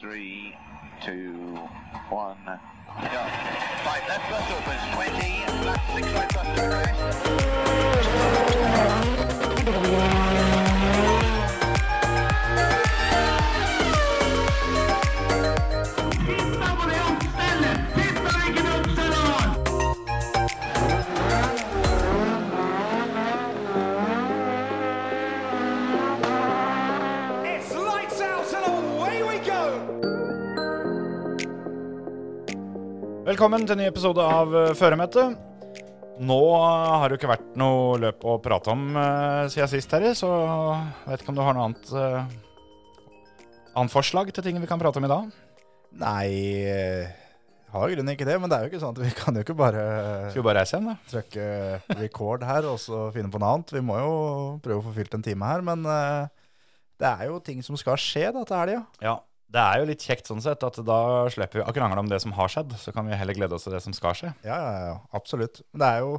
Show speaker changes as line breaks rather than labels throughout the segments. Three, two, one, go. Five left bus opens, 20, left six right bus to crest.
It's lights out and away we go!
Velkommen til en ny episode av eh, Føremøtet. Nå eh, har det jo ikke vært noe løp å prate om eh, siden sist, Terje, så jeg vet ikke om du har noe annet, eh, annet forslag til ting vi kan prate om i dag?
Nei, eh, jeg har i grunnen ikke det, men det er jo ikke sånn at vi kan jo ikke bare eh,
Skal vi bare reise hjem, da?
trykke record her og så finne på noe annet. Vi må jo prøve å få fylt en time her, men eh, det er jo ting som skal skje da til helga.
Ja. Det er jo litt kjekt sånn sett at da slipper vi å krangle om det som har skjedd, så kan vi heller glede oss til det som skal skje.
Ja, ja, ja, absolutt. Men det er jo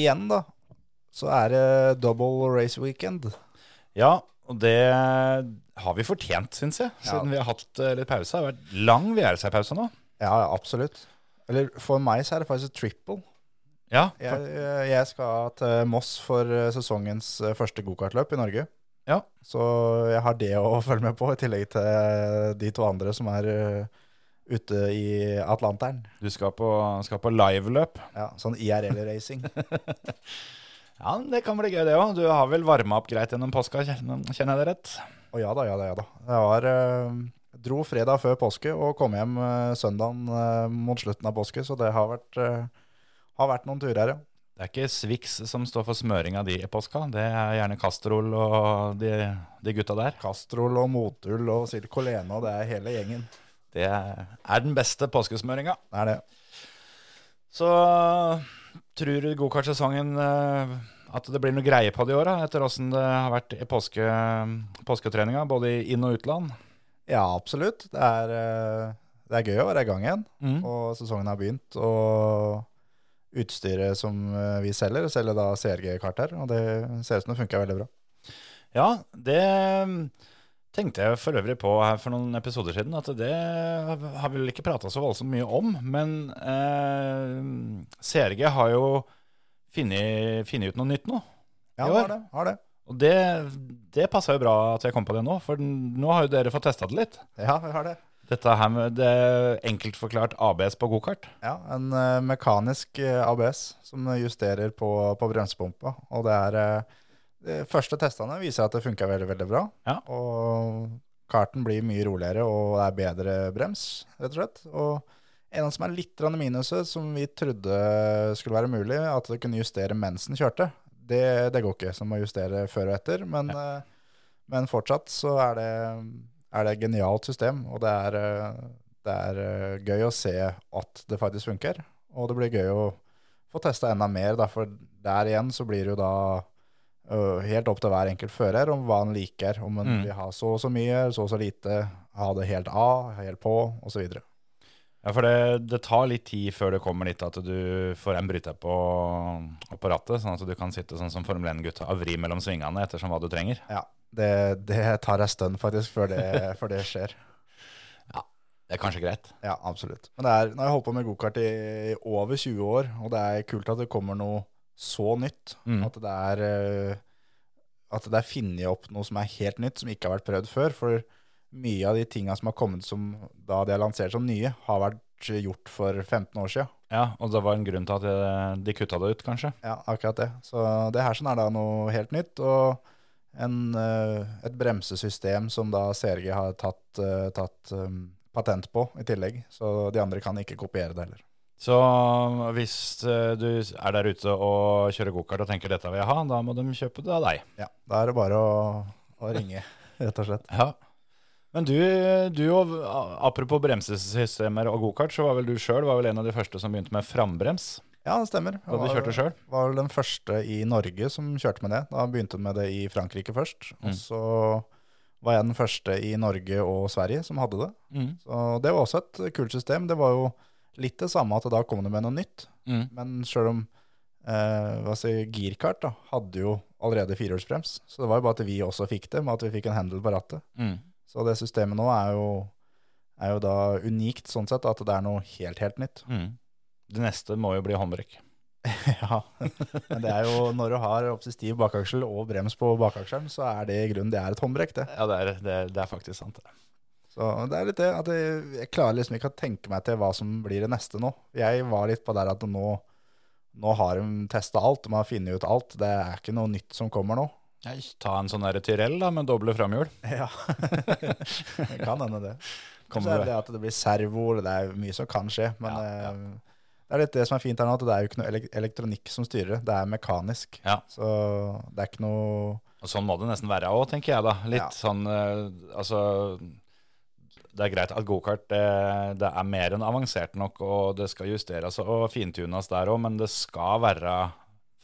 igjen, da, så er det double race weekend.
Ja, og det har vi fortjent, syns jeg, siden vi har hatt eh, litt pause. Det har vært lang VR-pause nå.
Ja, ja, absolutt. Eller for meg så er det faktisk triple.
Ja,
Jeg, jeg- jeg skal til Moss for eh, sesongens eh, første gokartløp i Norge.
Ja.
Så jeg har det å følge med på, i tillegg til de to andre som er eh, ute i Atlanteren.
du skal på, skal på liveløp.
Ja, sånn IRL-racing.
Ja, det kan bli gøy det òg. Du har vel varma opp greit gjennom påska, kjenner kjenner jeg det rett?
Å ja da, ja da, ja da. Jeg var, eh, dro fredag før påske og kom hjem eh, søndagen eh, mot slutten av påske, så det har vært, eh, har vært noen turer, ja.
Det er ikke Swix som står for smøringa di i påska, det er gjerne Castrol og de, de gutta der.
Kastrol og Motul og Silkolene og det er hele gjengen.
Det er den beste påskesmøringa.
Det er det.
Så tror du gokartsesongen eh, at det blir noe greie på det i år, da, etter åssen det har vært i påske, påsketreninga, både i inn- og utland?
Ja, absolutt. Det er, eh, det er gøy å være i gang igjen. Og sesongen har begynt, og utstyret som eh, vi selger, selger da CRG-kart her, og det ser ut som det funker veldig bra.
Ja, det mm, tenkte jeg for øvrig på her for noen episoder siden, at det har vi vel ikke prata så voldsomt mye om. Men eh, CRG har jo funnet funnet ut noe nytt nå. I
Ja,
år?
har det. Har det.
Og det, det passa jo bra at jeg kom på det nå, for nå har jo dere fått testa det litt.
Ja, vi har det.
Dette her med det enkelt forklart ABS på gokart.
Ja, en eh, mekanisk eh, ABS som justerer på, på bremsepumpa, og det er eh, de første testene viser at det funker veldig, veldig bra.
Ja.
Og karten blir mye roligere, og det er bedre brems, rett og slett. Og en av som er litt grann minuset, som vi trodde skulle være mulig, at det kunne justere mens den kjørte, det, det går ikke, som å justere før og etter. Men, eh, men fortsatt så er det, er det et genialt system, og det er, eh, det er eh, gøy å se at det faktisk funker. Og det blir gøy å få testa enda mer, da, for der igjen så blir det jo da Øh, helt opp til hver enkelt fører om hva han liker. Om han
Mm.
vil ha så og så mye, så og så lite, ha det helt av, helt på, osv.
Ja, for det, det tar litt tid før det kommer dit at du får en bryter på, på rattet, sånn at du kan sitte sånn som Formel 1-gutta og vri mellom svingene ettersom hva du trenger.
Ja, det, det tar ei stund faktisk før det, før det skjer.
Det er kanskje greit.
Ja, absolutt. Men det er, nå har jeg holdt på med gokart i i over 20 år, og det er kult at det kommer noe så nytt.
Mm.
At det er øh, at det er funnet opp noe som er helt nytt, som ikke har vært prøvd før. For mye av de tinga som har kommet som da de er lansert som nye, har vært gjort for 15 år sia.
Ja, og det var en grunn til at eh, de kutta det ut, kanskje.
Ja, akkurat det. Så det her sånn er da noe helt nytt, og en, eh, et bremsesystem som da CRG har tatt, eh, tatt eh, patent på i tillegg. Så de andre kan ikke kopiere det heller.
Så hvis eh, du er der ute og kjører gokart og tenker dette vil jeg ha, da må de kjøpe det av deg.
Ja, Da er det bare å, å ringe, rett og slett.
Ja. Men du, du og, apropos bremsesystemer og gokart, så var vel du sjøl en av de første som begynte med frambrems
Ja, det stemmer.
da du
Jeg var-
kjørte sjøl.
var vel den første i Norge som kjørte med det. Da begynte han med det i Frankrike først.
Mm.
Og så var jeg den første i Norge og Sverige som hadde det.
Mm.
Så det var også et kult system. Det var jo litt det samme at da kom det med noe nytt.
Mm.
Men sjøl om eh, hva si, girkart da, hadde jo allerede firehjulsbrems, så det var jo bare at vi også fikk det, med at vi fikk en handle på rattet.
Mm.
Så det systemet nå er jo er jo da unikt sånn sett at det er noe helt, helt nytt.
Mm. Det neste må jo bli håndbruk.
ja, men det er jo når du har opptil stiv bakaksel og brems på bakakselen, så er det i grunnen det er et håndbrekk, det.
Ja, det er, det er, det er faktisk sant. det.
Så det er litt det at jeg, jeg klarer liksom ikke å tenke meg til hva som blir det neste nå. Jeg var litt på der at nå, nå har de testa alt, de har funnet ut alt. Det er ikke noe nytt som kommer nå.
Nei, ta en sånn der Tyrell da, med doble framhjul.
Ja, det kan hende det.
Kommer
Så er
det.
det det at det blir servoer, det er mye som kan skje. Men
Ja, ja.
eh, det er litt det som er fint her nå, at det er jo ikke noe elek- elektronikk som styrer det. Det er mekanisk.
Ja.
Så det er ikke noe
Og sånn må det nesten være òg, tenker jeg da. Litt
Ja.
sånn eh, Altså, det er greit at gokart eh, det er mer enn avansert nok, og det skal justeres og fintunes der òg, men det skal være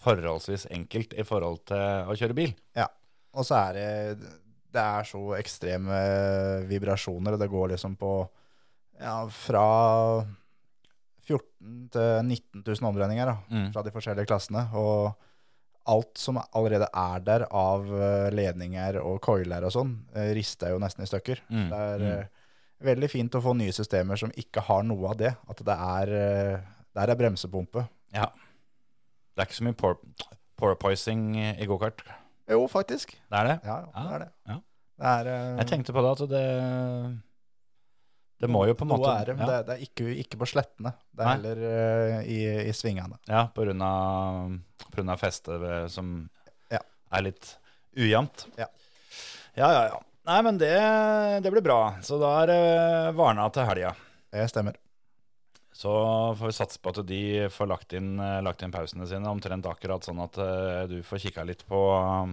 forholdsvis enkelt i forhold til å kjøre bil.
Ja, og så er det Det er så ekstreme vibrasjoner, og det går liksom på ja, fra 14 000 til 19 000 omdreininger da,
Mm.
fra de forskjellige klassene. Og alt som allerede er der av eh, ledninger og coiler og sånn, eh, rister jo nesten i stykker.
Mm,
Det er eh, veldig fint å få nye systemer som ikke har noe av det. At det er eh, Der er bremsepumpe.
Ja. Det er ikke så mye por- porpoising i gokart.
Jo, faktisk.
Det er det.
Ja, det er det.
Ah, Ja.
det er, eh,
Jeg tenkte på det at det Det må jo på en
Noe
måte
er det, men
ja,
det, er- det er ikke, ikke på slettene. Det er
Nei.
heller eh, i, i svingene.
ja, på grunn av, på grunn av festet ved- som
Ja.
er litt ujevnt.
Ja.
ja, ja. ja. Nei, men det, det blir bra. Så da er det varna til helga.
Det stemmer.
Så får vi satse på at de får lagt inn, lagt inn pausene sine omtrent akkurat sånn at eh, du får kikka litt på eh,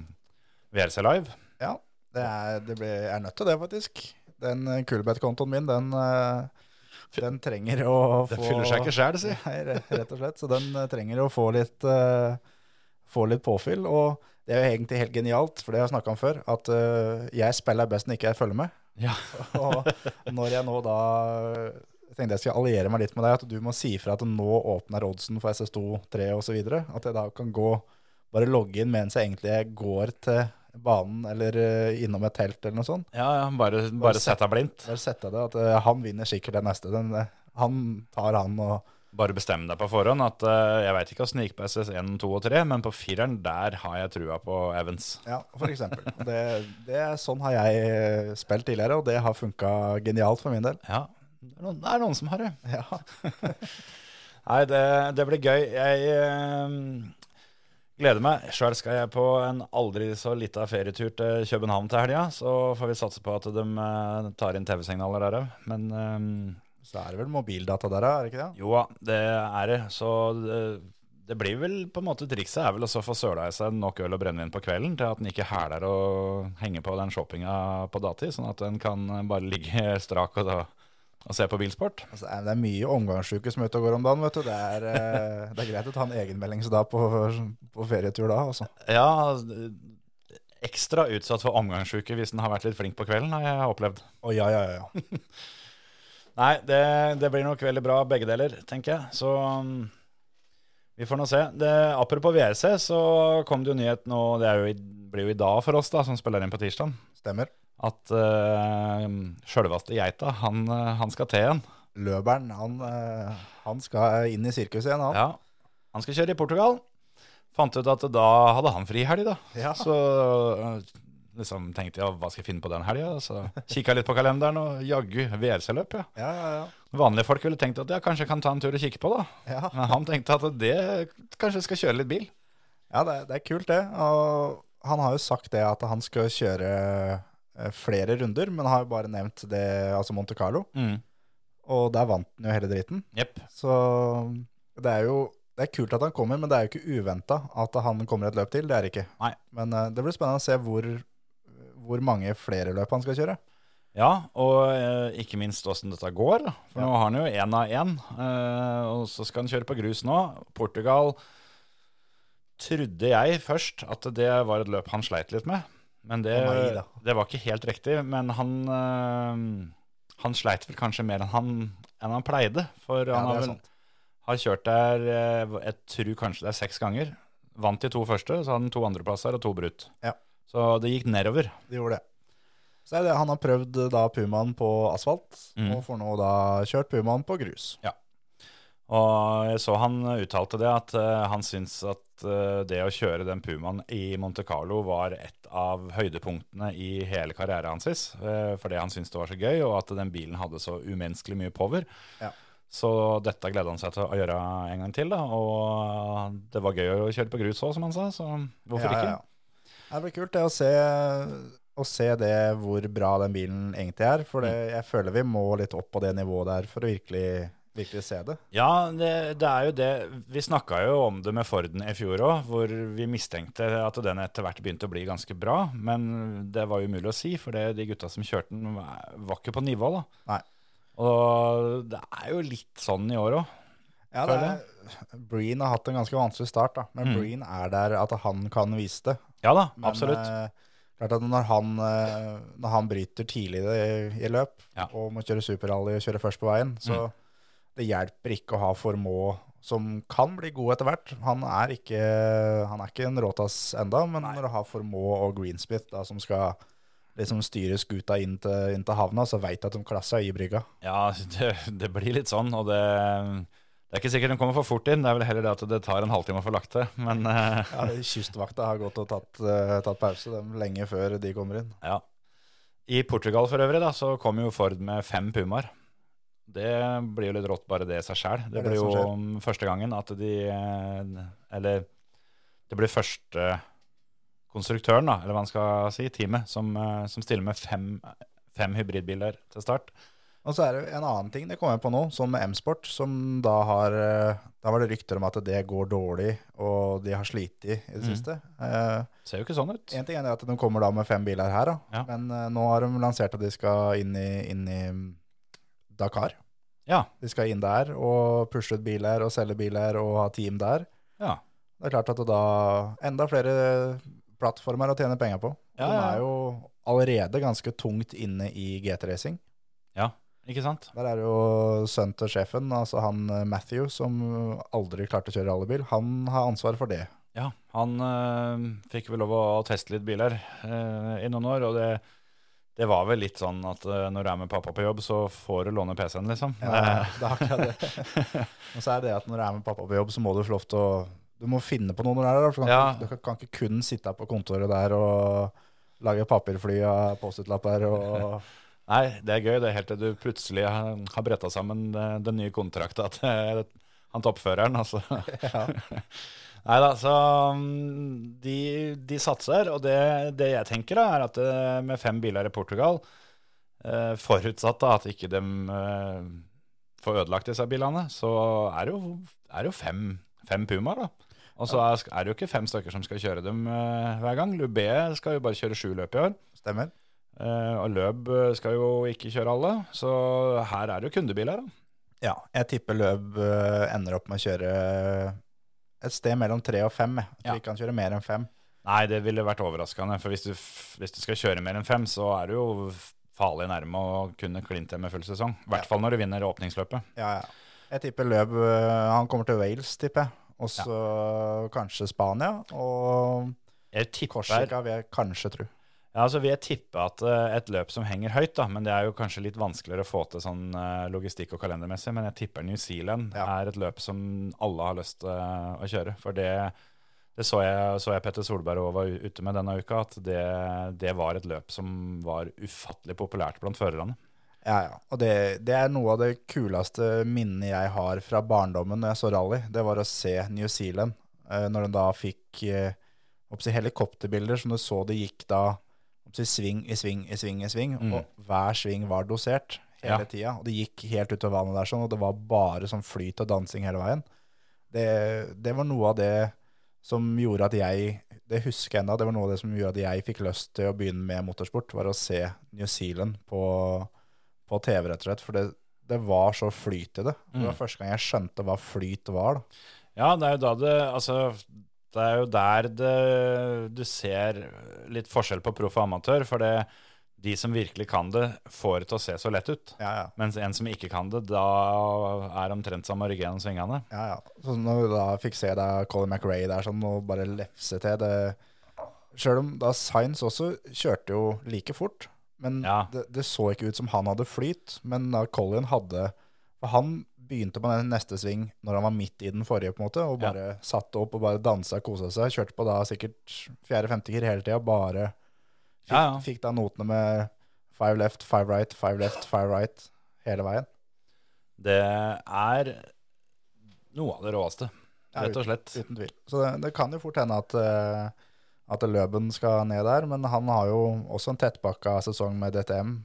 VRC Live.
Ja, det er, det blir, jeg er nødt til det, faktisk. Den Kulbeth-kontoen min, den, eh, den trenger å få
Det fyller seg ikke sjæl, si.
Nei, re- rett og slett. Så den eh, trenger å få litt, eh, få litt påfyll. Og det er jo egentlig helt genialt, for det har jeg snakka om før, at eh, jeg spiller best når ikke jeg følger med.
Ja.
Og når jeg nå da eh, tenkte jeg skal alliere meg litt med deg, at du må si fra at nå åpner oddsen for SS2, 3 osv., at jeg da kan gå bare logge inn mens jeg egentlig går til banen eller eh, innom et telt eller noe sånt.
Ja, ja, bare, bare sett deg blindt.
Bare sette det at eh, han vinner sikkert den neste. Den, eh, han tar han og
Bare bestem deg på forhånd at eh, jeg veit ikke å snike på SS1, 2 og 3, men på fireren der har jeg trua på Evans.
Ja, for eksempel. Og Det, det er sånn har jeg eh, spilt tidligere, og det har funka genialt for min del.
Ja, det er noen, det er noen som har det.
Ja,
Nei, det, det blir gøy. Jeg eh, gleder meg. Sjøl skal jeg på en aldri så lita ferietur til København til helga. Så får vi satse på at de eh, tar inn TV-signaler der òg. Men eh,
Så er det vel mobildata der, er det ikke det?
jo da, det er det. Så det, det blir vel på en måte trikset er vel også å få søla i seg nok øl og brennevin på kvelden til at en ikke hæler å henge på den shoppinga på datid, sånn at en kan bare ligge strak og, og se på bilsport.
Altså, eh, det er mye omgangsuke som er ute og går om dagen, vet du. Det er, eh, det er greit å ta en egenmeldingsdag på, på ferietur da, altså.
Ja, ekstra utsatt for omgangsuke hvis den har vært litt flink på kvelden, har jeg opplevd.
Å ja, ja, ja, ja.
Nei, det, det blir nok veldig bra begge deler, tenker jeg. Så um, vi får nå se. Det, apropos VRC, så kom det jo nyhet nå, det er jo i, blir jo i dag for oss da, som spiller inn på tirsdag,
Stemmer.
at uh, sjølveste geita, han, eh, han skal til igjen.
Løberen, han, eh, han skal inn i sirkuset igjen, han.
Ja, han skal kjøre i Portugal. Fant ut at da hadde han fri helg, da.
Ja.
Så øh, liksom tenkte jeg, hva skal jeg finne på den helga? Så kikka litt på kalenderen, og jaggu VRC-løp, ja.
Ja, ja, ja.
Vanlige folk ville tenkt at ja, kanskje jeg kan ta en tur og kikke på, da.
Ja.
Men han tenkte at det kanskje jeg skal kjøre litt bil.
Ja, det, det er kult det. Og han har jo sagt det at han skal kjøre eh, flere runder, men har jo bare nevnt det, altså Monte Carlo.
Mm.
Og der vant han jo hele driten.
Jepp.
Så det er jo det er kult at han kommer, men det er jo ikke uventa at han kommer et løp til. Det er det ikke.
Nei.
Men eh, det blir spennende å se hvor, hvor mange flere løp han skal kjøre.
Ja, og eh, ikke minst åssen dette går. da. For
Ja.
nå har han jo én av én, eh, og så skal han kjøre på grus nå. Portugal trodde jeg først at det var et løp han sleit litt med. Men det,
Å nei da.
det var ikke helt riktig. Men han, eh, han sleit vel kanskje mer enn han, enn han pleide. For
Ja,
han
det
har,
er
vel,
sant.
har kjørt der eh, jeg tror kanskje det er seks ganger. Vant de to første, så hadde han to andreplasser og to brutt.
Ja.
Så det gikk nedover.
De gjorde det. Så er det, han har prøvd eh, da Pumaen på asfalt,
Mm.
og får nå da kjørt Pumaen på grus.
Og jeg så han uttalte det, at eh, han syns at eh, det å kjøre den Pumaen i Monte Carlo var et av høydepunktene i hele karrieren hans, uh, fordi han syntes det var så gøy, og at den bilen hadde så umenneskelig mye power.
Ja.
Så dette gleda han seg til å gjøre en gang til, da. Og det var gøy å kjøre på grus òg, som han sa, så hvorfor
Ja, ja, ja. Det blir kult det å se, å se det hvor bra den bilen egentlig er, for det,
Mm.
jeg føler vi må litt opp på det nivået der for å virkelig, virkelig se det.
ikke? Ja, det, det er jo det. Vi snakka jo om det med Forden i fjor òg, hvor vi mistenkte at den etter hvert begynte å bli ganske bra. Men det var jo umulig å si, for det, de gutta som kjørte den, var ikke på nivå, da.
Nei.
Og det er jo litt sånn i år òg.
Ja, det er, Breen har hatt en ganske vanskelig start, da.
Mm.
men Breen er der at han kan vise det.
Ja da,
Men,
absolutt.
eh, klart at når han, eh, når han bryter tidlig i, i løp,
Ja. Mm.
og må kjøre superrally og kjøre først på veien, så det hjelper ikke å ha Formå som kan bli god etter hvert. Han er ikke, han er ikke en råtass enda, men når du har Formå og Greensmith da, som skal liksom styre skuta inn til, inn til havna, så veit du at de klassa er i brygga.
Ja, det, det blir litt sånn, og det, det er ikke sikkert den kommer for fort inn. Det er vel heller det at det tar en halvtime å få lagt det. Men eh,
Ja, Kystvakta har gått og tatt, eh, tatt pause dem lenge før de kommer inn.
Ja. I Portugal for øvrig da, så kom jo Ford med fem Pumaer. Det blir jo litt rått bare det i seg sjøl. Det
Det er
blir
det
jo
som
første gangen at de eh, Eller det blir første konstruktøren, da, eller hva man skal si, teamet, som, eh, som stiller med fem, fem hybridbiler til start.
Og så er det en annen ting det kom jeg på nå, som M-Sport, som da har eh, Da var det rykter om at det går dårlig, og de har slitt i det siste. Eh,
Ser jo ikke sånn ut.
en ting er at de kommer da med fem biler her, da.
Ja.
men eh, nå har de lansert at de skal inn i, inn i mm, Dakar.
Ja.
De skal inn der og pushe ut biler og selge biler og ha team der.
ja.
Det er klart at det da enda flere plattformer å tjene penger på.
Ja,
De
ja.
er jo allerede ganske tungt inne i GT-racing.
Ikke sant?
Der er det jo sønnen til sjefen, altså han eh, Matthew, som aldri klarte å kjøre rallybil. Han har ansvar for det.
Ja, han eh, fikk vel lov å teste litt biler eh, i noen år, og det, det var vel litt sånn at eh, når du er med pappa på jobb, så får du låne PC-en, liksom.
Ja, det er akkurat det. Og så er det at når du er med pappa på jobb, så må du få lov til å Du må finne på noe når du er der. For du kan,
Ja.
ikke- du kan- kan ikke kun sitte på kontoret der og lage papirfly av Post-It-lapper og
Nei, det er gøy. Det er helt til du plutselig har har bretta sammen eh, den nye kontrakta til han toppføreren, altså.
ja.
Nei da, så mm, de, de satser, og det, det jeg tenker da, er at eh, med fem biler i Portugal, eh, forutsatt da at ikke de eh, får ødelagt disse bilene, så er det jo, er det jo fem, fem Pumaer, da. Og så er, er det jo ikke fem stykker som skal kjøre dem eh, hver gang. Lubé skal jo bare kjøre sju løp i år.
Stemmer.
Eh, og Løb eh, skal jo ikke kjøre alle, så her er det jo kundebiler. Da.
Ja. Jeg tipper Løb eh, ender opp med å kjøre et sted mellom tre og fem. Jeg Jeg tror
Ja.
ikke han kjører mer enn fem.
Nei, det ville vært overraskende, for hvis du, f- hvis du skal kjøre mer enn fem, så er du jo f- farlig nærme å kunne klinte med full sesong. I hvert fall når du vinner åpningsløpet.
Ja, ja. Jeg tipper Løb øh, Han kommer til Wales, tipper jeg. Og så kanskje Spania. Og
Jeg tipper,
Korsika vil jeg kanskje tro.
ja, altså vil jeg tippe at eh, et løp som henger høyt, da, men det er jo kanskje litt vanskeligere å få til sånn eh, logistikk- og kalendermessig, men jeg tipper New Zealand
Ja.
er et løp som alle har lyst til eh, å kjøre. For det, det så, jeg, så jeg Petter Solberg også var ute med denne uka, at det, det var et løp som var ufattelig populært blant førerne.
Ja, ja. Og det, det er noe av det kuleste minnet jeg har fra barndommen når jeg så rally. Det var å se New Zealand. eh, Når de da fikk eh, oppsi, helikopterbilder som du så det gikk da oppsi, sving i sving i sving i sving.
Mm.
Og hver sving var dosert hele
Ja.
tida. Og det gikk helt utover vannet der sånn, og det var bare sånn flyt og dansing hele veien. Det, det var noe av det som gjorde at jeg Det husker jeg ennå. Det var noe av det som gjorde at jeg fikk lyst til å begynne med motorsport, var å se New Zealand på på TV, rett og slett. For det, det var så flyt i det. Det var første gang jeg skjønte hva flyt var. da.
Ja, det er jo da det Altså, det er jo der det, du ser litt forskjell på proff og amatør. For det, de som virkelig kan det, får det til å se så lett ut.
Ja, ja.
Mens en som ikke kan det, da er omtrent samme rygg gjennom svingene.
ja, ja. Så når du da fikk se deg Colin McRae der sånn, og bare lefse til det Sjøl om da Science også kjørte jo like fort, Men
Ja.
det, det så ikke ut som han hadde flyt, men da Colin hadde For han begynte på den neste sving når han var midt i den forrige, på en måte, og
Ja.
bare satte opp og bare dansa og kosa seg. Kjørte på da sikkert fjerde-femte gir hele tida, bare fikk,
Ja, ja.
fikk da notene med five left, five right, five left, five right hele veien.
Det er noe av det råeste,
Ja,
rett og slett.
Uten tvil. Så det, det kan jo fort hende at, eh, at Løben skal ned der, men han har jo også en tettpakka sesong med DTM,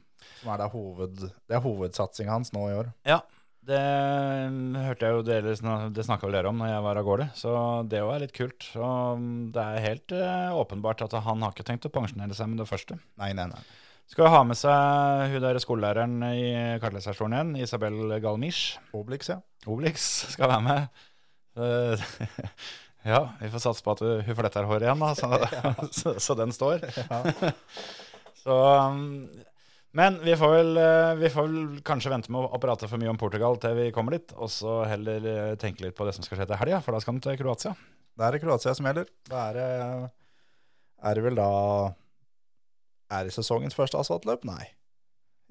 som er da hoved, det er hovedsatsinga hans nå i år.
Ja, det eh, hørte jeg jo dere sna- Det snakka vel dere om når jeg var av gårde, så det òg er litt kult. Så mm, det er helt eh, åpenbart at han har ikke tenkt å pensjonere seg med det første.
Nei, nei, nei.
Skal ha med seg hun der skolelæreren i kartleserstolen igjen, Isabel Galmisch.
Obelix, ja.
Obelix skal være med. Eh, ja, vi får satse på at hun hun fletter håret igjen, da,
sånn
så, så, så den står. Så, um, men vi får, vel, eh, vi får vel kanskje vente med å prate for mye om Portugal til vi kommer dit, og så heller eh, tenke litt på det som skal skje til helga, for da skal han til Kroatia.
Da er det Kroatia som gjelder. Da er det, eh, er det vel da Er det sesongens første asfaltløp? Nei.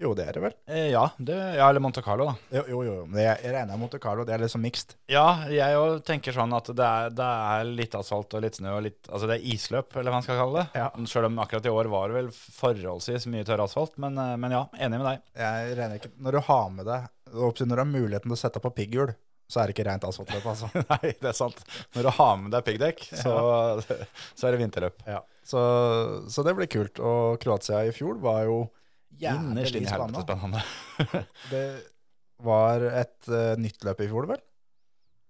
Jo, det er det vel.
Eh, ja, det, ja, eller Monte Carlo, da.
Jo, jo, jo. Men jeg, jeg regner med Monte Carlo, det er liksom mixed.
Ja, jeg òg tenker sånn at det er, det er litt asfalt og litt snø og litt Altså det er isløp, eller hva man skal kalle det.
Ja.
Sjøl om akkurat i år var det vel forholdsvis mye tørr asfalt, men, eh, men ja, enig med deg.
Jeg regner ikke Når du har med deg og Når du har muligheten til å sette på pigghjul, så er det ikke rent asfaltløp, altså.
Nei, det er sant. Når du har med deg piggdekk, så, så er det vinterløp.
Ja. Så, så det blir kult. Og Kroatia i fjor var jo
Innerst
jævlig
inne helvete
spennende.
spennende.
Det var et eh, nytt løp i fjor, vel?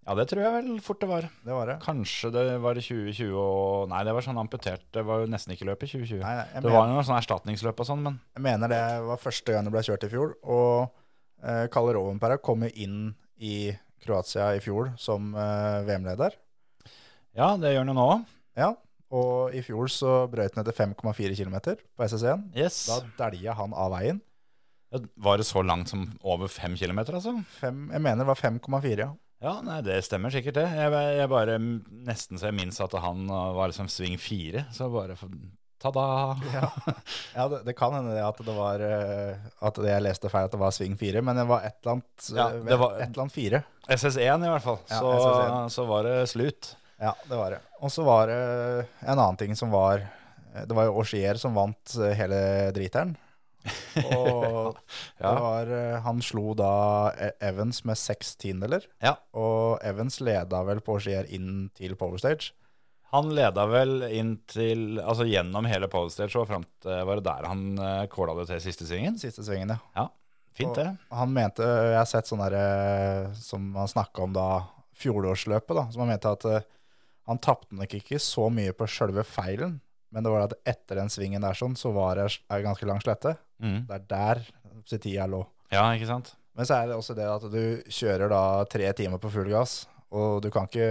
Ja, det tror jeg vel fort det var.
Det var det.
Kanskje det var i 2020 og Nei, det var sånn amputert. Det var jo nesten ikke løp i 2020.
Nei, nei, jeg
det var jo noe sånn erstatningsløp og sånn, men
Jeg mener det var første gang det ble kjørt i fjor. Og eh, Kalle Rovenpera kom jo inn i Kroatia i fjor som eh, VM-leder.
ja, det gjør han jo nå òg.
Ja, og i fjor så brøyt han etter 5,4 km på SS1.
Yes.
Da dælja han av veien.
Ja, Var det så langt som over fem kilometer, altså?
Fem, jeg mener det var 5,4, ja.
Ja, nei, det stemmer sikkert det. Jeg, jeg bare nesten så jeg minnes at han uh, var liksom sving fire, så bare for- ta-da!
Ja, ja det, det kan hende det at det var eh, At det jeg leste feil, at det var sving 4, men det var et eller annet,
Ja,
eh,
det var-
et eller annet 4.
SS1 i hvert fall,
Ja,
så,
SS1.
så var det slut.
Ja, det var det. Og så var det en annen ting som var eh, Det var jo Auxier som vant eh, hele driteren. Og
Ja.
det var eh, Han slo da E- Evans med seks tiendedeler.
Ja.
Og Evans leda vel på Auxier inn til Powerstage.
Han leda vel inn til Altså gjennom hele Powerstage og fram til Var det der han eh, kåla det til siste svingen?
Siste svingen, ja.
Ja, fint det.
Og Han mente, jeg har sett sånn derre som han snakka om da, fjorårsløpet, da, som han mente at eh, han tapte nok ikke så mye på sjølve feilen, men det var at etter den svingen der sånn, så var det ei ganske lang slette.
Mm.
Det er der tida lå.
Ja, ikke sant?
Men så er det også det at du kjører da tre timer på full gass, og du kan ikke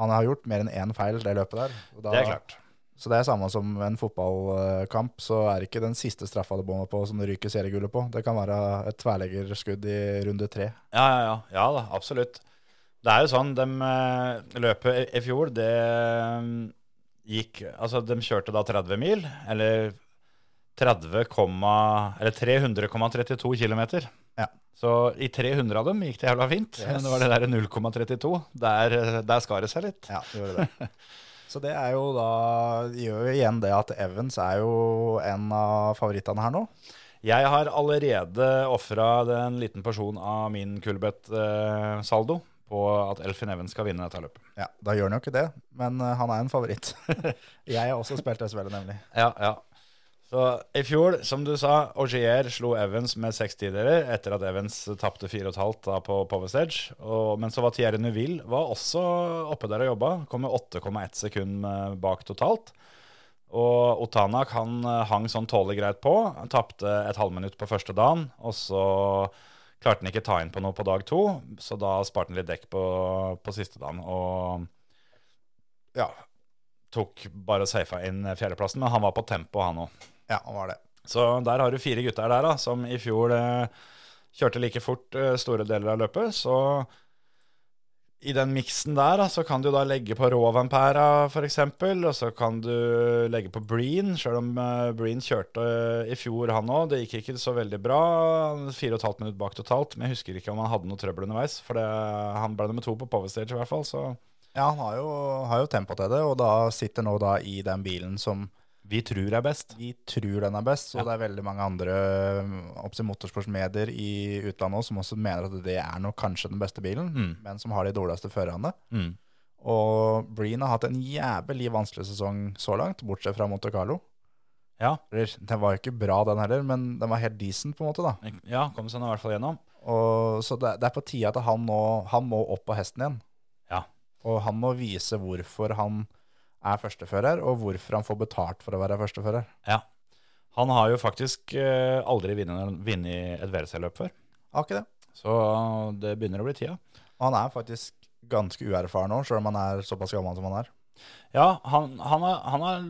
Han har gjort mer enn én feil det løpet der. og da-
Det er klart.
Så det er samme som en fotballkamp, så er det ikke den siste straffa du bommer på som du ryker seriegullet på. Det kan være et tverleggerskudd i runde tre.
Ja, ja, ja. Ja da, absolutt. Det er jo sånn, de løpet i- i fjor, det mm, gikk Altså, de kjørte da 30 mil, eller 30, komma- eller 300,32 km.
Ja.
Så i 300 av dem gikk det jævla fint, men det var det der 0,32. Der, der skar det seg litt.
Ja, det gjorde det. Så det er jo da det gjør jo igjen det at Evans er jo en av favorittene her nå.
Jeg har allerede ofra en liten porsjon av min Kulbeth-saldo på at Elfin Even skal vinne dette løpet.
Ja, Da gjør han jo ikke det, men eh, han er en favoritt. Jeg har også spilt det spillet, nemlig.
Ja, ja. Så i fjor, som du sa, Augier slo Evans med seks tideler etter at Evans tapte fire og et halvt da på Powerstage. Men så var Thierry Neuville var også oppe der og jobba. Kom med 8,1 sekund eh, bak totalt. Og Otanak han eh, hang sånn tålelig greit på. Han tapte et halvminutt på første dagen. Og så klarte han ikke ta inn på noe på dag to, så da sparte han litt dekk på, på siste dagen. Og ja, tok bare og safa inn fjerdeplassen, men han var på tempo, han òg.
Ja, han var det.
Så der har du fire gutter der da, som i fjor eh, kjørte like fort eh, store deler av løpet. Så i den miksen der, da, så kan du da legge på rå Vampera f.eks., og så kan du legge på Breen, sjøl om eh, Breen kjørte eh, i fjor, han òg. Det gikk ikke så veldig bra. Han er Fire og et halvt minutt bak totalt, men jeg husker ikke om han hadde noe trøbbel underveis. For det, han ble nummer to på Power Stage i hvert fall, så
Ja, han har jo, har jo tempo til det, og da sitter nå da i den bilen som
vi tror er best.
vi tror den er best, og det er veldig mange andre øh, oppsett motorsportsmedier i utlandet også, som også mener at det er nok kanskje den beste bilen,
Mm.
men som har de dårligste førerne.
Mm.
Og Breen har hatt en jævlig vanskelig sesong så langt, bortsett fra Monte Carlo.
Ja.
Eller, Den var jo ikke bra den heller, men den var helt decent på en måte da.
ja, kom seg nå i hvert fall gjennom.
Og, så det, det er på tide at han, nå, han må opp på hesten igjen.
Ja.
Og han må vise hvorfor han er førstefører, og hvorfor han får betalt for å være førstefører.
Ja. Han har jo faktisk eh, aldri vunnet vunnet et WRC-løp før,
Har ikke det.
så det begynner å bli tida.
Og han er faktisk ganske uerfaren nå, selv om han er såpass gammel som han er.
Ja, han, han, har, han, har,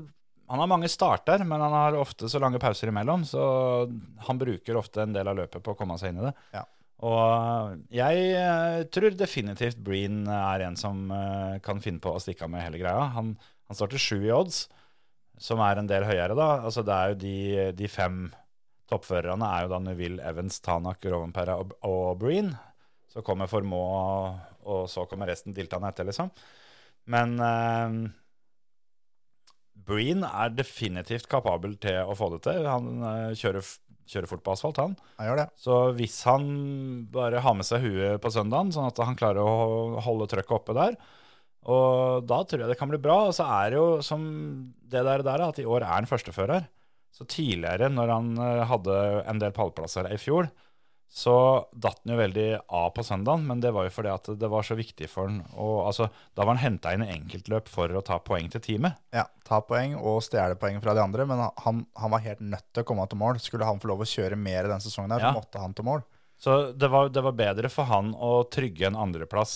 han har mange starter, men han har ofte så lange pauser imellom, så han bruker ofte en del av løpet på å komme seg inn i det.
Ja.
Og jeg eh, tror definitivt Breen er en som eh, kan finne på å stikke av med hele greia. Han, han starter sju i odds, som er en del høyere da. Altså det er jo de, de fem toppførerne er jo da Neville, Evans, Tanak, Rovenpera og, og Breen. Så kommer Formå, og så kommer resten diltene etter, liksom. Men eh, Breen er definitivt kapabel til å få det til. Han eh, kjører, f- kjører fort på asfalt, han.
Han gjør det.
Så hvis han bare har med seg huet på søndagen, sånn at han klarer å holde trøkket oppe der, og da tror jeg det kan bli bra. Og så er det jo som det der, der at i år er han førstefører. Så tidligere, når han eh, hadde en del pallplasser i fjor, så datt han jo veldig av på søndagen, men det var jo fordi at det var så viktig for han. Og altså, da var han henta inn i enkeltløp for å ta poeng til teamet.
Ja, ta poeng og stjele poeng fra de andre, men han, han var helt nødt til å komme til mål. Skulle han få lov å kjøre mer i den sesongen her,
Ja.
så måtte han til mål.
Så det var, det var bedre for han å trygge en andreplass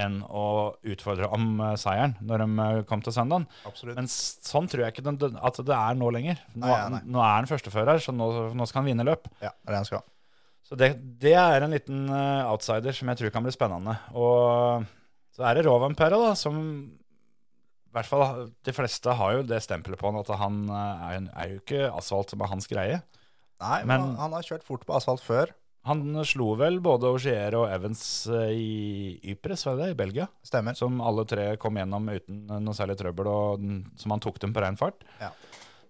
enn å utfordre om eh, seieren når de eh, kom til søndagen.
Absolutt.
Men s- sånn tror jeg ikke den, den- at det er nå lenger. Nå,
Nei, nei, nei.
nå er han førstefører, så nå, nå skal han vinne løp.
ja, det er det han skal.
Så det, det er en liten eh, outsider som jeg tror kan bli spennende. Og så er det Rovampera, da, som i hvert fall de fleste har jo det stempelet på han at han eh, er, er jo ikke asfalt som er hans greie.
Nei, men,
Men-
han, han har kjørt fort på asfalt før,
Han slo vel både Augier og Evans eh, i Ypres, var det det, i Belgia?
stemmer.
Som alle tre kom gjennom uten noe særlig trøbbel, og den, som han tok dem på rein fart.
Ja.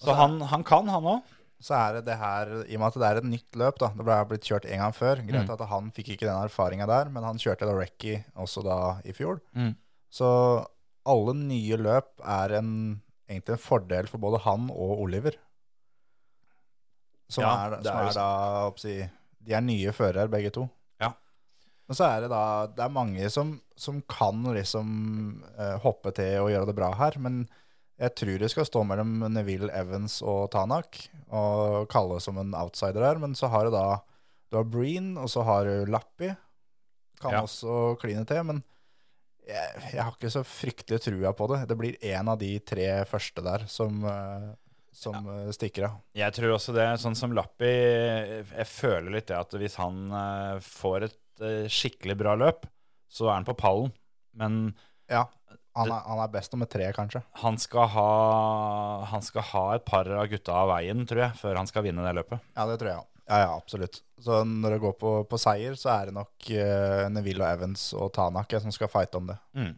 Så han, han kan, han òg.
så er det det her, i og med at det er et nytt løp, da, det ble blitt kjørt en gang før, greit
Mm.
at han fikk ikke den erfaringen der, men han kjørte da Recky også da i fjor.
Mm.
Så alle nye løp er en, egentlig en fordel for både han og Oliver. Som
Ja,
er,
det
som
er jo
er, da, oppsi, de er nye fører begge to.
Ja.
Men så er det da, det er mange som, som kan liksom eh, hoppe til og gjøre det bra her, men jeg tror det skal stå mellom Neville Evans og Tanak, og kalle det som en outsider her, men så har du da du har Breen, og så har du Lappi. Kan
Ja.
også kline til, men jeg, jeg har ikke så fryktelig trua på det. Det blir én av de tre første der som, eh, som eh, stikker av.
Jeg tror også det, sånn som Lappi Jeg føler litt det at hvis han eh, får et eh, skikkelig bra løp, så er han på pallen. Men
Ja, han er, han er best nummer tre, kanskje.
han skal ha, han skal ha et par av gutta av veien, tror jeg, før han skal vinne det løpet.
Ja, det tror jeg. Ja, ja, absolutt. Så når det går på, på seier, så er det nok eh, Neville og Evans og Tanak eh, som skal fighte om det.
Mm.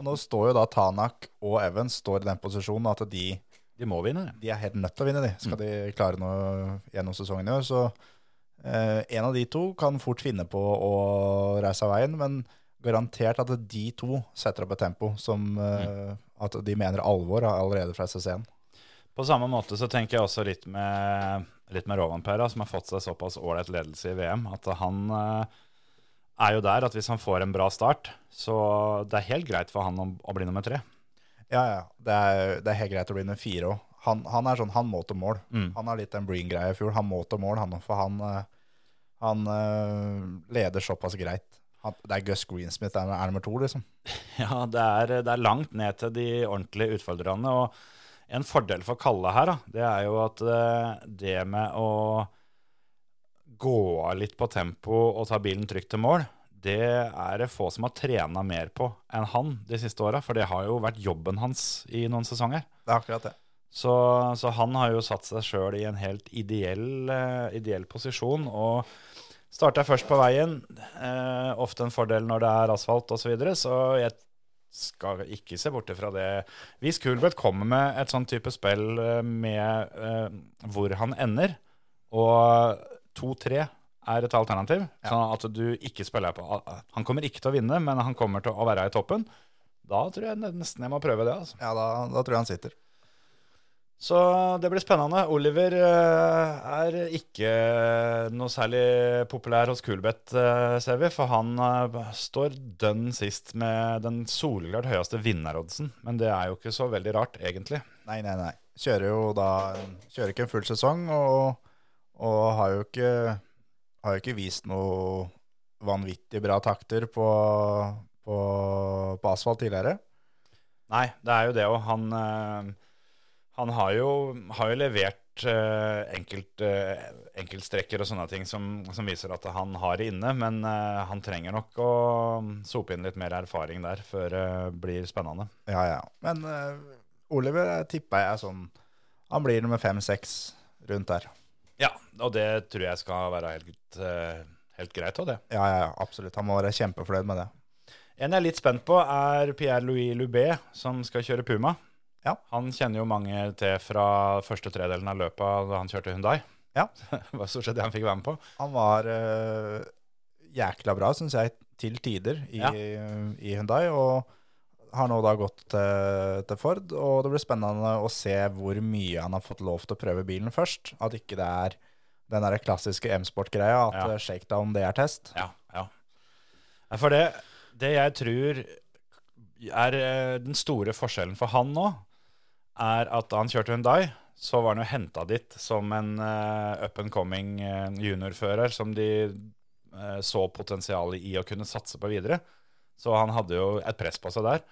Og nå står jo da Tanak og Evans står i den posisjonen at de
De må vinne.
de er helt nødt til å vinne, de. Skal de klare noe gjennom sesongen i år. Så eh, en av de to kan fort finne på å reise av veien, men garantert at de to setter opp et tempo som eh, at de mener alvor allerede fra SS1.
På samme måte så tenker jeg også litt med, litt med Rovan Pera, som har fått seg såpass ålreit ledelse i VM, at han eh, er jo der at hvis han får en bra start, så det er helt greit for han å, å bli nummer tre.
Ja, ja. Det er, det er helt greit å bli nummer fire òg. Han, han er sånn, han må til mål.
Mm.
Han har litt den Breen-greia i fjor. Han må til mål, han òg, for han, eh, han eh, leder såpass greit. Han, det er Gus Greensmith der er nummer to, liksom.
Ja, det er, det er langt ned til de ordentlige utfordrerne, og en fordel for Kalle her, da, det er jo at eh, det med å gå av litt på tempo og ta bilen trygt til mål, det er det få som har trena mer på enn han de siste åra. For det har jo vært jobben hans i noen sesonger.
Det er akkurat det.
Så, så han har jo satt seg sjøl i en helt ideell, eh, ideell posisjon. Og starta først på veien. Eh, ofte en fordel når det er asfalt osv. Så, videre, så jeg skal ikke se bort ifra det. Hvis Kulbeth kommer med et sånn type spill eh, med eh, hvor han ender, og 2-3 er et alternativ, sånn at du ikke spiller på Han kommer ikke til å vinne, men han kommer til å være i toppen. Da tror jeg nesten jeg må prøve det. altså.
Ja, da, da tror jeg han sitter.
Så det blir spennende. Oliver eh, er ikke noe særlig populær hos Kulbeth, eh, ser vi. For han eh, står dønn sist med den soleklart høyeste vinneroddsen. Men det er jo ikke så veldig rart, egentlig.
Nei, nei, nei. Kjører jo da Kjører ikke en full sesong og, og har jo ikke Har jo ikke vist noe vanvittig bra takter på, på, på asfalt tidligere.
Nei, det er jo det òg. Han, eh, han har, jo, har jo levert eh, enkelt, eh, enkeltstrekker og sånne ting som, som viser at han har det inne, men eh, han trenger nok å mm, sope inn litt mer erfaring der før det blir spennende.
Ja, ja. Men eh, Oliver eh, tipper jeg er sånn Han blir nummer fem-seks rundt der.
Ja, og det tror jeg skal være helt, eh, helt greit òg, det.
Ja, ja, ja, absolutt. Han må være kjempefornøyd med det.
En jeg er litt spent på, er Pierre-Louis Loubet, som skal kjøre Puma.
Ja.
Han kjenner jo mange til fra første tredelen av løpet da han kjørte Hundai.
Ja.
det var stort sett det han fikk være med på.
Han var eh, jækla bra, syns jeg, til tider i,
Ja.
i Hyundai. Og har nå da gått til, til Ford. Og det blir spennende å se hvor mye han har fått lov til å prøve bilen først. At ikke det er den der klassiske M-sport-greia, at
Ja.
eh, shakedown, det er test.
Ja, ja. Nei, For det, det jeg tror er eh, den store forskjellen for han nå, er at da han kjørte Hyundai, så var han jo henta dit som en eh, up and coming eh, juniorfører som de eh, så potensialet i å kunne satse på videre. Så han hadde jo et press på seg der.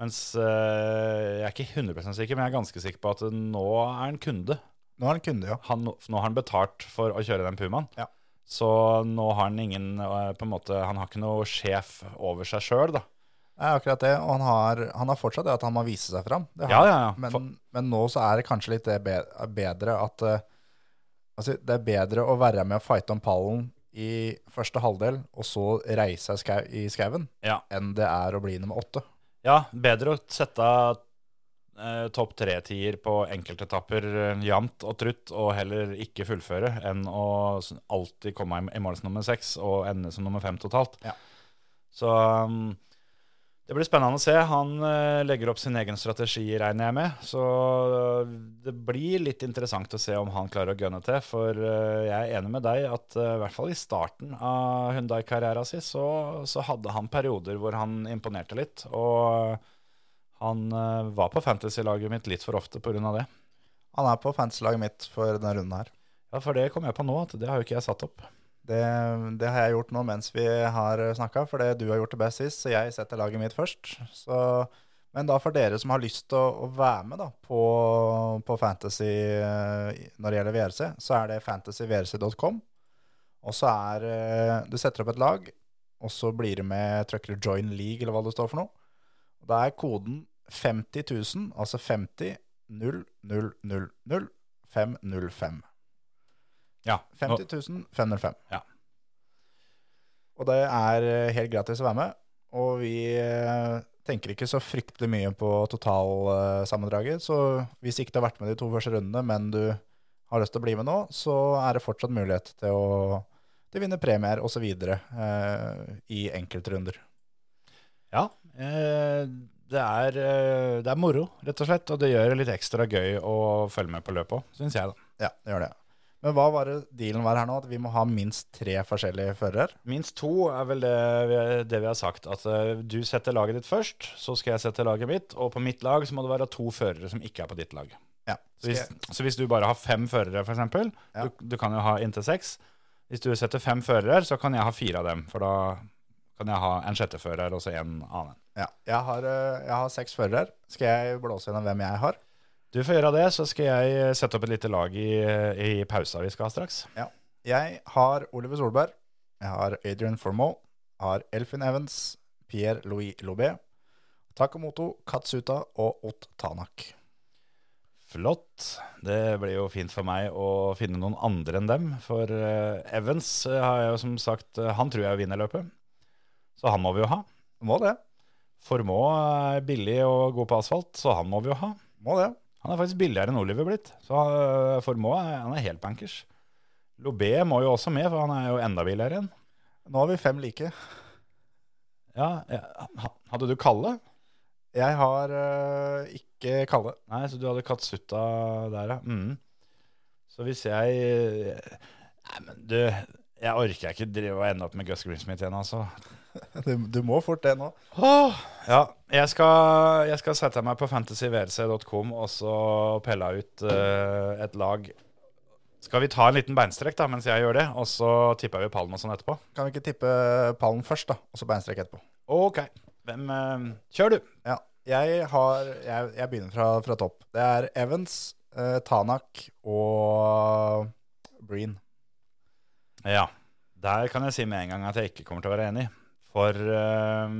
Mens eh, jeg er ikke 100 sikker, men jeg er ganske sikker på at nå er han kunde
Nå er han kunde, jo.
han, nå har han betalt for å kjøre den Pumaen.
Ja.
Så nå har han ingen eh, på en måte, Han har ikke noe sjef over seg sjøl, da.
Det er akkurat det. Og han har, han har fortsatt det at han må vise seg fram. Det har
Ja,
han.
ja, ja.
Men,
For-
men nå så er det kanskje litt det be- bedre at eh, altså, det er bedre å være med og fighte om pallen i første halvdel, og så reise seg skau, i skauen,
Ja.
enn det er å bli nummer åtte.
ja, bedre å sette eh, topp tre-tier på enkeltetapper eh, jevnt og trutt, og heller ikke fullføre, enn å s- alltid komme i, i mål som nummer seks og ende som nummer fem totalt.
Ja.
Så um, det blir spennende å se. Han eh, legger opp sin egen strategi, regner jeg med. Så eh, det blir litt interessant å se om han klarer å gønne til. For eh, jeg er enig med deg at eh, i hvert fall i starten av Hundai-karrieren sin, så, så hadde han perioder hvor han imponerte litt. Og han eh, var på fantasy-laget mitt litt for ofte pga. det.
Han er på fantasy-laget mitt for denne runden her.
Ja, For det kom jeg på nå, at det har jo ikke jeg satt opp.
Det, det har jeg gjort nå mens vi har snakka, for det du har gjort det best sist, så jeg setter laget mitt først. Så, men da for dere som har lyst til å, å være med da, på, på Fantasy eh, når det gjelder VRC, så er det fantasyvrc.com. Og så er eh, Du setter opp et lag, og så blir det med trykker du 'join league', eller hva det står for noe. Og Da er koden 50 000, altså 50 0 0 0 0 505.
Ja, nå,
50 000, 505.
Ja.
Og det er eh, helt gratis å være med. Og vi eh, tenker ikke så fryktelig mye på totalsammendraget, så hvis ikke du har vært med de to første rundene, men du har lyst til å bli med nå, så er det fortsatt mulighet til å til å vinne premier osv. Eh, i enkeltrunder.
Ja, eh, det, er, eh, det er moro, rett og slett. Og det gjør det litt ekstra gøy å følge med på løpet òg, syns jeg. da.
Ja, det gjør det. Men hva var det dealen var her nå? At vi må ha minst tre forskjellige førere?
Minst to er vel det vi, det vi har sagt. At eh, du setter laget ditt først, så skal jeg sette laget mitt. Og på mitt lag så må det være to førere som ikke er på ditt lag.
Ja.
Så hvis, så hvis du bare har fem førere, f.eks. eksempel,
Ja.
Du, du kan jo ha inntil seks. Hvis du setter fem førere, så kan jeg ha fire av dem. For da kan jeg ha en sjette fører og så en annen.
Ja. Jeg, har, eh, jeg har seks førere. Skal jeg blåse gjennom hvem jeg har?
Du får gjøre det, så skal jeg eh, sette opp et lite lag i, i pausa vi skal ha straks.
Jeg har Oliver Solberg, jeg har Adrian Formoe, har Elfin Evans, Pierre-Louis Lobet, Takamoto Katsuta og Ott Tanak.
Flott. Det blir jo fint for meg å finne noen andre enn dem. For eh, Evans eh, har jeg jo som sagt eh, Han tror jeg vinner løpet. Så han må vi jo ha.
Må det.
Formå er billig og god på asfalt, så han må vi jo ha.
Må det.
Han er faktisk billigere enn Oliver blitt. Så eh, Formå er, han er helt bankers. Lobé må jo også med, for han er jo enda billigere igjen.
Nå har vi fem like.
Ja, ja, ha- Hadde du Kalle?
Jeg har eh, ikke Kalle.
Nei, så du hadde Katsuta der, ja. Mm. Så hvis jeg Nei, men du, jeg orker ikke drive og ende opp med Gus Greensmith igjen, altså.
Du, du må fort det nå.
Åh, ja, jeg skal, jeg skal sette meg på fantasyvrc.com og så pelle ut eh, et lag. Skal vi ta en liten beinstrekk da, mens jeg gjør det, og så tipper vi pallen og sånn etterpå?
Kan vi ikke tippe pallen først, da, og så beinstrek etterpå?
Ok, hvem eh, Kjør, du!
Ja. Jeg, har, jeg, jeg begynner fra, fra topp. Det er Evans, eh, Tanak og Breen.
Ja, der kan jeg si med en gang at jeg ikke kommer til å være enig. For eh,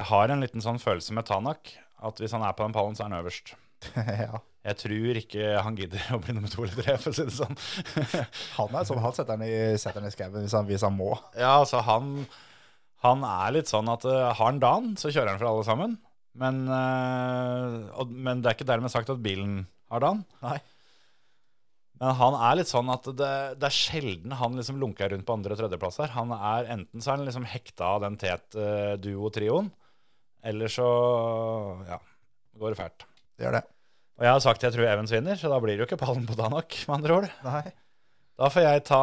jeg har en liten sånn følelse med Tanak, at hvis han er på den pallen, så er han øverst.
ja.
Jeg tror ikke han gidder å bli nummer to eller tre, for å si det sånn.
Han er som han setter den i, setter den i skauen hvis, han- hvis han må.
Ja, altså han, han er litt sånn at eh, har han dagen, så kjører han for alle sammen. Men, eh, og, men det er ikke dermed sagt at bilen har dagen.
Nei.
Men han er litt sånn at det, det er sjelden han liksom lunker rundt på andre- og tredjeplasser. Han er enten så er han liksom hekta av den tet-duo-trioen, eller så ja, går det fælt.
Det gjør det.
Og jeg har sagt jeg tror Evans vinner, så da blir det jo ikke pallen på Danak, med andre ord.
Nei.
Da får jeg ta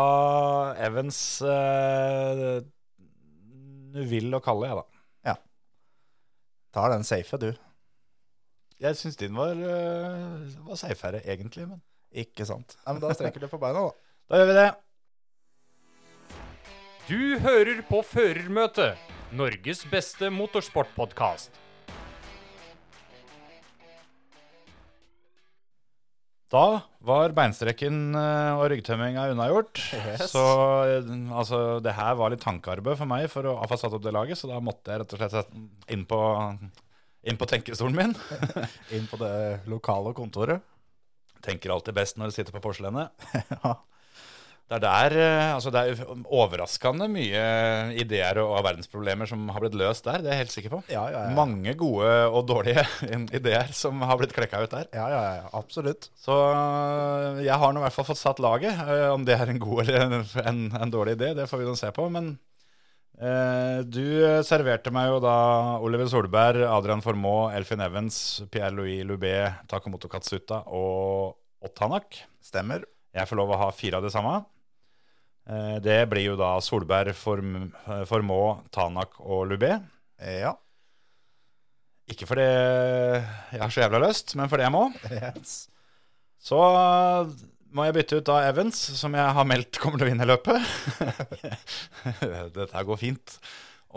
Evans, eh, Nuvill og Kalle, jeg da.
Tar den safe, du.
Jeg syns din var, eh, var seifere, egentlig. Men.
Ikke sant. Nei, men Da strekker du på beina, da.
Da gjør vi det.
Du hører på Førermøtet, Norges beste motorsportpodkast.
Da var beinstrekken eh, og ryggtømminga unnagjort.
Yes.
Så eh, altså, det her var litt tankearbeid for meg for å ha fått satt opp det laget, så da måtte jeg rett og slett sette- inn på, inn på tenkestolen min.
Inn på det lokale kontoret.
Tenker alltid best når du sitter på porselenet.
Ja.
Det er der, eh, altså det er overraskende mye ideer og og verdensproblemer som har blitt løst der, det er jeg helt sikker på.
Ja, ja, ja.
Mange gode og dårlige ideer som har blitt klekka ut der.
Ja, ja, ja, absolutt.
Så øh, jeg har nå i hvert fall fått satt laget. Øh, Om det er en god eller en, en, en dårlig idé, det får vi nå se på. Men øh, du serverte meg jo da Oliver Solberg, Adrian Formoe, Elfin Evans, Pierre-Louis Loubet, Takamoto Katsuta og Ottanak.
Stemmer.
Jeg får lov å ha fire av det samme. Eh, Det blir jo da Solberg, Form- eh, Formoe, Tanak og Loubet.
Ja.
Ikke fordi jeg har så jævla lyst, men fordi jeg må.
Yes.
Så må jeg bytte ut da Evans, som jeg har meldt kommer til å vinne løpet. Dette går fint.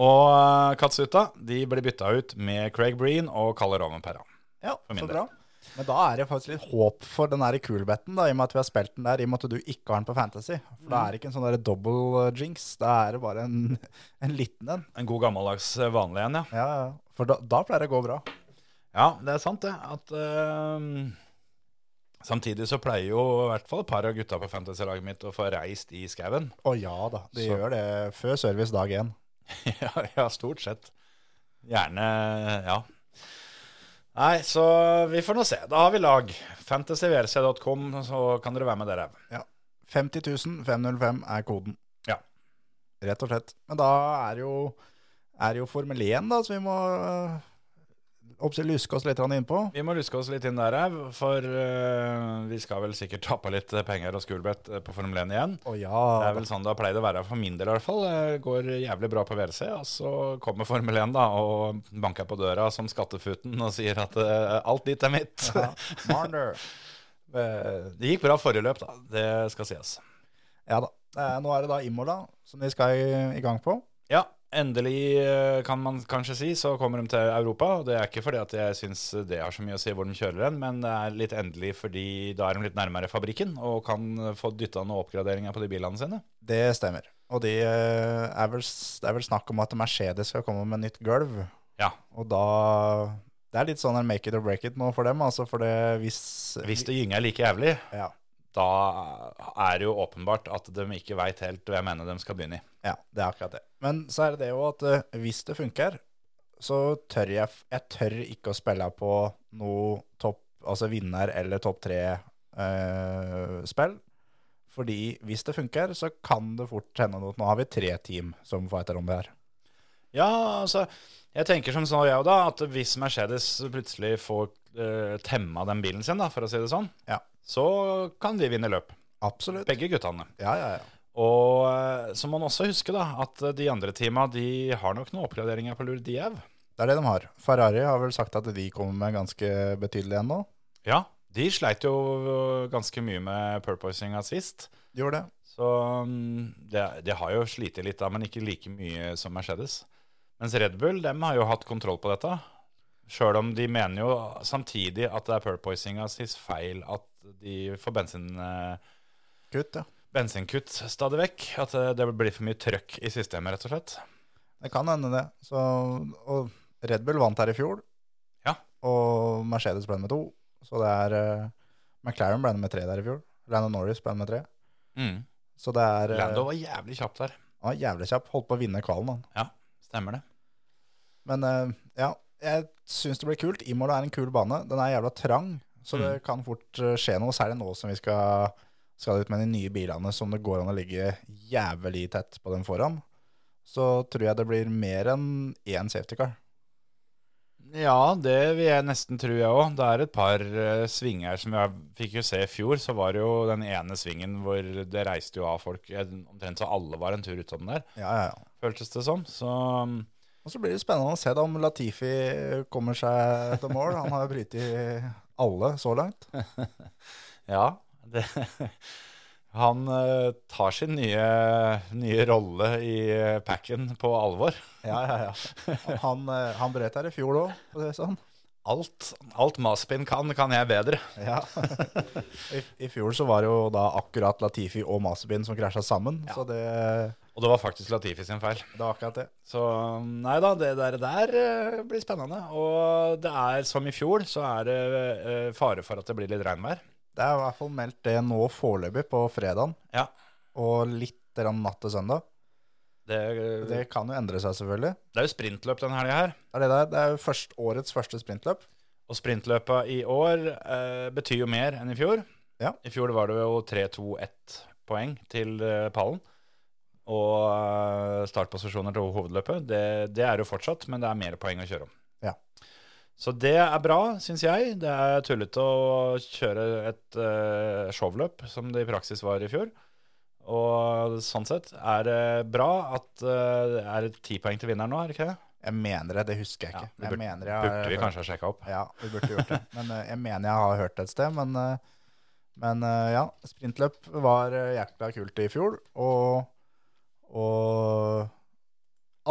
Og eh, Katsuta de blir bytta ut med Craig Breen og Kalle Rovenpera.
Ja,
min
så
del.
bra. Men da er det faktisk litt håp for den der cool-betten, da, i og med at vi har spilt den der, i og med at du ikke har den på Fantasy. For
Mm.
da er det ikke en sånn der double eh, jinx, da er det bare en, en liten en.
En god gammeldags eh, vanlig en, ja.
Ja, ja. For da, da pleier det å gå bra.
Ja, det er sant det. At, eh, samtidig så pleier jo i hvert fall et par av gutta på fantasy-laget mitt å få reist i skauen.
Å ja da, de
Så-
gjør det før service dag én.
ja, ja, stort sett. Gjerne, ja. Nei, så vi får nå se. Da har vi lag. Fantasyvrc.com, så kan dere være med dere.
50 505 er koden.
Ja.
Rett og slett. Men da er det jo, er det jo Formel 1, da, så vi må øh, oppsi- luske oss litt grann innpå.
Vi må luske oss litt inn der, Ev, for eh, vi skal vel sikkert tape litt penger og skulbett på Formel 1 igjen.
Å ja,
Det er vel sånn det har pleid å være for min del i hvert fall. Det går jævlig bra på VRC, og så kommer Formel 1 da, og banker på døra som skattefuten og sier at eh, alt ditt er mitt.
ja. Marner.
Eh, det gikk bra forrige løp da, det skal sies.
Ja da. Eh, Nå er det da Imola som de skal i, i gang på.
Ja, endelig eh, kan man kanskje si, så kommer de til Europa. Og det er ikke fordi at jeg syns det har så mye å si hvor de kjører hen, men det er litt endelig fordi da er de litt nærmere fabrikken og kan få dytta noen oppgraderinger på de bilene sine.
Det stemmer. Og de, eh, er vel, s- det er vel snakk om at Mercedes skal komme med nytt gulv.
Ja.
Og da Det er litt sånn en make it or break it nå for dem, altså. For det hvis
Hvis det gynger like jævlig,
Ja.
da er det jo åpenbart at de ikke veit helt hvem ende de skal begynne i.
Ja, det er akkurat det. Men så er det det jo at eh, hvis det funker, så tør jeg, f- jeg tør ikke å spille på noe topp, altså vinner eller topp tre eh, spill. Fordi hvis det funker, så kan det fort hende noe. Nå har vi tre team som fighter om det her.
Ja, altså, jeg tenker som så jeg og da, at hvis Mercedes plutselig får eh, temma den bilen sin, da, for å si det sånn,
Ja.
så kan de vinne løp.
Absolutt.
Begge guttene.
Ja, ja, ja.
Og eh, så må man også huske da, at de andre teama, de har nok noen oppgraderinger på lur, de òg.
Det er det de har. Ferrari har vel sagt at de kommer med ganske betydelig ennå.
Ja, de sleit jo ganske mye med purposinga sist.
Gjorde det.
Så mm, det, det har jo slitt litt da, men ikke like mye som Mercedes. Mens Red Bull dem har jo hatt kontroll på dette. Sjøl om de mener jo samtidig at det er purpoisinga sin feil at de får bensin, eh,
Kutt, ja.
bensinkutt stadig vekk. At eh, det blir for mye trøkk i systemet, rett og slett.
Det kan hende det. Så, og Red Bull vant her i fjor.
Ja.
Og Mercedes ble med to. Så det er eh, McLaren ble med tre der i fjor. Lando Norris ble med tre. Så det er
Mm.
eh,
Lando var jævlig kjapp der.
Han var jævlig kjapp. Holdt på å vinne kvalen, han.
Ja, stemmer det.
Men eh, ja, jeg syns det blir kult. Imola er en kul bane. Den er jævla trang, så det
Mm.
kan fort eh, skje noe. Særlig nå som vi skal, skal ut med de nye bilene som det går an å ligge jævlig tett på den foran. Så tror jeg det blir mer enn én safety car.
Ja, det vil jeg nesten tro jeg òg. Det er et par eh, svinger som jeg fikk jo se i fjor. Så var det jo den ene svingen hvor det reiste jo av folk. eh, Omtrent så alle var en tur utom der,
Ja, ja, ja.
føltes det som. Så mm,
Og så blir det spennende å se da om Latifi kommer seg til mål. Han har jo brytt i alle så langt.
ja. Det, han eh, tar sin nye, nye rolle i eh, packen på alvor.
Ja, ja, ja. Han, eh, han brøt her i fjor òg, for å si det sånn.
Alt, alt Maspin kan, kan jeg bedre.
Ja. I, I fjor så var det jo da akkurat Latifi og Masebin som krasja sammen, så det,
Og det var faktisk Latifi sin feil.
det var akkurat det.
Så nei da, det der, der eh, blir spennende. Og det er som i fjor, så er det eh, fare for at det blir litt regnvær.
Det er i hvert fall meldt det nå foreløpig på fredagen,
Ja,
og litt grann natt til søndag.
det, det,
Det kan jo endre seg, selvfølgelig.
er jo sprintløp denne helga her.
Det er, det der. Det er jo først, årets første sprintløp.
Og sprintløpa i år eh, betyr jo mer enn i fjor.
Ja.
I fjor var det jo 3-2-1 poeng til eh, pallen. Og eh, startposisjoner til hovedløpet. Det, det er jo fortsatt, men det er mer poeng å kjøre om.
Ja.
Så det er bra, syns jeg. Det er tullete å kjøre et eh, showløp, som det i praksis var i fjor. Og sånn sett er det bra at eh, det er ti poeng til vinneren nå, er det ikke det?
Jeg mener det, det husker jeg
Ja,
ikke.
vi
jeg
burde-
mener jeg har
Burde vi
hørt-
kanskje ha sjekka opp.
Ja, vi burde gjort det. Men eh, jeg mener jeg har hørt det et sted. Men, eh, men eh, ja, sprintløp var eh, jækla kult i fjor. Og, og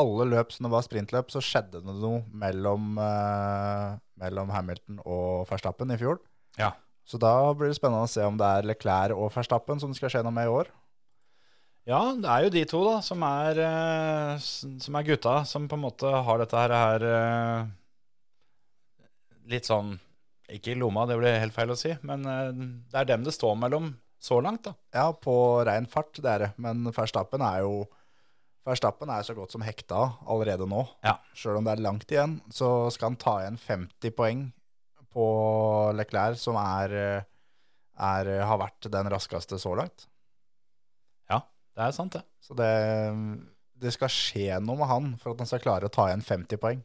alle løp som det var sprintløp, så skjedde det noe mellom, eh, mellom Hamilton og Verstappen i fjor.
Ja.
Så da blir det spennende å se om det er Leclerc og Verstappen som det skal skje noe med i år.
Ja, det er jo de to da, som er, eh, s- som er gutta, som på en måte har dette her, her eh, litt sånn, ikke i lomma, det blir helt feil å si, men eh, det er dem det står mellom så langt da.
Ja, på rein fart, det er det. Men Verstappen er jo Verstappen er så godt som hekta allerede nå.
Ja.
Sjøl om det er langt igjen, så skal han ta igjen 50 poeng på Leclerc, som er, er, har vært den raskeste så langt.
Ja, det er sant det.
Så det, det skal skje noe med han for at han skal klare å ta igjen 50 poeng.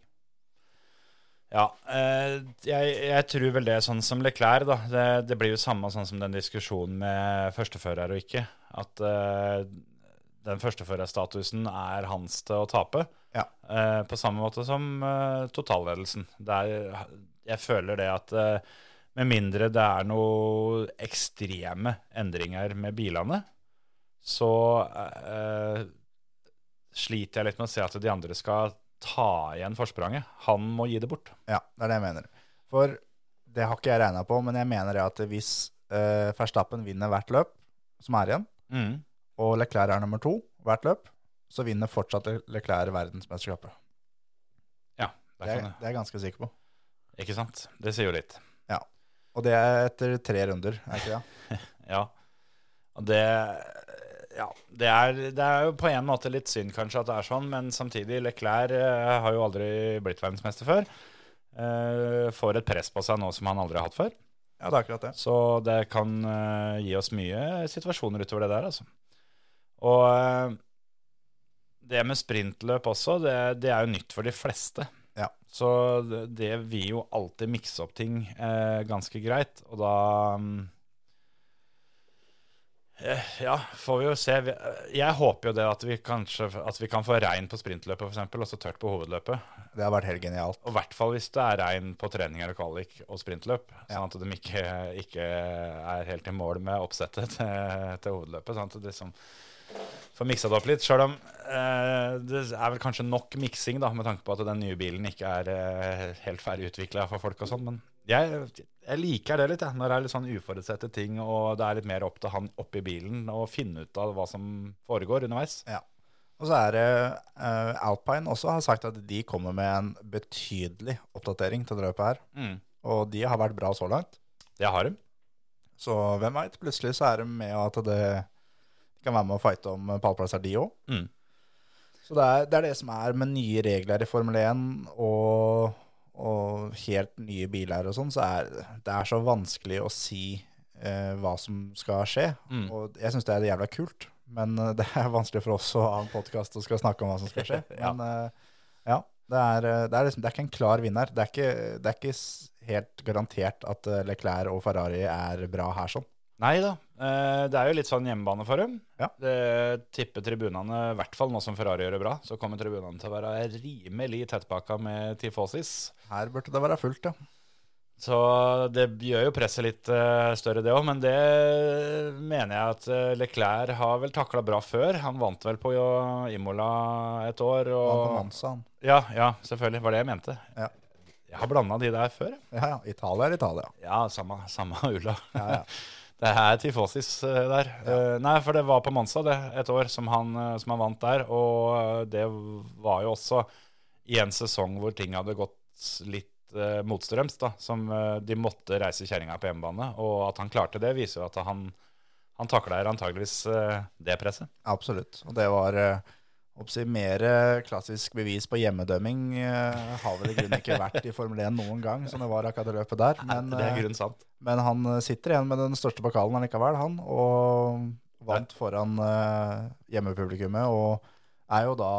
Ja, eh, jeg, jeg tror vel det er sånn som Leclerc da, det, det blir jo samme sånn som den diskusjonen med førstefører og ikke, at eh, den førsteførerstatusen er hans til å tape,
Ja.
eh, på samme måte som eh, totalledelsen. Det er, jeg føler det at eh, med mindre det er noen ekstreme endringer med bilene, så eh, sliter jeg litt med å se at de andre skal ta igjen forspranget. Han må gi det bort.
Ja, det er det jeg mener. For det har ikke jeg regna på, men jeg mener det at
Mm,
hvis eh, Verstappen vinner hvert løp som er igjen, og Leclerc er nummer to, hvert løp, så vinner fortsatt Le- Leclerc verdensmesterskapet.
sånn, Ja,
Det
der
er,
kan
det er jeg ganske sikker på.
du. Ikke sant? Det sier jo litt.
Og det er etter tre runder, er ikke det?
Ja. Og Det, ja det, er, det er jo på en måte litt synd kanskje at det er sånn, men samtidig, Leclerc eh, har jo aldri blitt verdensmester før. Eh, får et press på seg nå som han aldri har hatt før.
Ja, det er akkurat det.
Så det kan eh, gi oss mye situasjoner utover det der, altså. Og eh, det med sprintløp også, det, det er jo nytt for de fleste.
Ja.
Så det, det vil jo alltid mikse opp ting eh, ganske greit, og da mm, eh, ja, får vi jo se. Vi- eh, Jeg håper jo det at vi kanskje at vi kan få regn på sprintløpet for eksempel, og så tørt på hovedløpet.
Det har vært helt genialt.
Og i hvert fall hvis det er regn på treninger og kvalik og sprintløp, sånn at de ikke, ikke er helt i mål med oppsettet til, til hovedløpet. Sånn at det liksom får miksa det opp litt. Sjøl om eh, det er vel kanskje nok miksing, da, med tanke på at den nye bilen ikke er eh, helt ferdig utvikla for folk og sånn. Men jeg, jeg liker det litt, jeg, når det er litt sånn uforutsette ting, og det er litt mer opp til han oppi bilen å finne ut av hva som foregår underveis.
Og så er det eh, Alpine også har sagt at de kommer med en betydelig oppdatering til det løpet her. Og de har vært bra så langt.
Mm. Det har de.
Så hvem veit? Plutselig så er de med at det de kan være med å fighte om pallplasser, de òg.
Mm.
Så det er, det er det som er med nye regler i Formel 1 og, og helt nye biler og sånn, så er det er så vanskelig å si eh, hva som skal skje.
Mm.
Og jeg syns det er jævla kult, men eh, det er vanskelig for oss å ha en podkast og skal snakke om hva som skal skje.
Ja.
Men eh, ja, det er, eh, det, er liksom, det er ikke en klar vinner. Det er ikke, det er ikke s- helt garantert at eh, Leclerc og Ferrari er bra her sånn.
Nei da. Eh, Det er jo litt sånn hjemmebane for dem.
Ja.
Det tipper tribunene, i hvert fall nå som Ferrari gjør det bra, så kommer tribunene til å være rimelig tettpakka med tifosis.
Her burde det være fullt, ja.
Så det gjør jo presset litt eh, større, det òg. Men det mener jeg at eh, Leclerc har vel takla bra før. Han vant vel på jo- Imola et år.
Og
Og...
Monza, han.
Ja, ja, selvfølgelig. Var det jeg mente.
Ja.
Jeg har blanda de der før. jeg.
Ja, ja. Italia er Italia.
Ja, samme, samme ulla.
Ja, ja.
Det er tifosis eh, der. Eh, nei, for det var på Monza det, et år som han, eh, som han vant der. Og eh, det var jo også i en sesong hvor ting hadde gått litt eh, motstrøms. da, Som eh, de måtte reise kjerringa på hjemmebane. Og at han klarte det, viser jo at han, han takla antageligvis eh, det presset.
Absolutt. Og det var eh, oppsi, mer eh, klassisk bevis på hjemmedømming. eh, Har vel i grunnen ikke vært i Formel 1 noen gang, som det var akkurat det løpet der. Men,
det er
eh,
grunn sant.
men han eh, sitter igjen med den største pokalen allikevel, han. Og vant foran eh, hjemmepublikummet, og er jo da,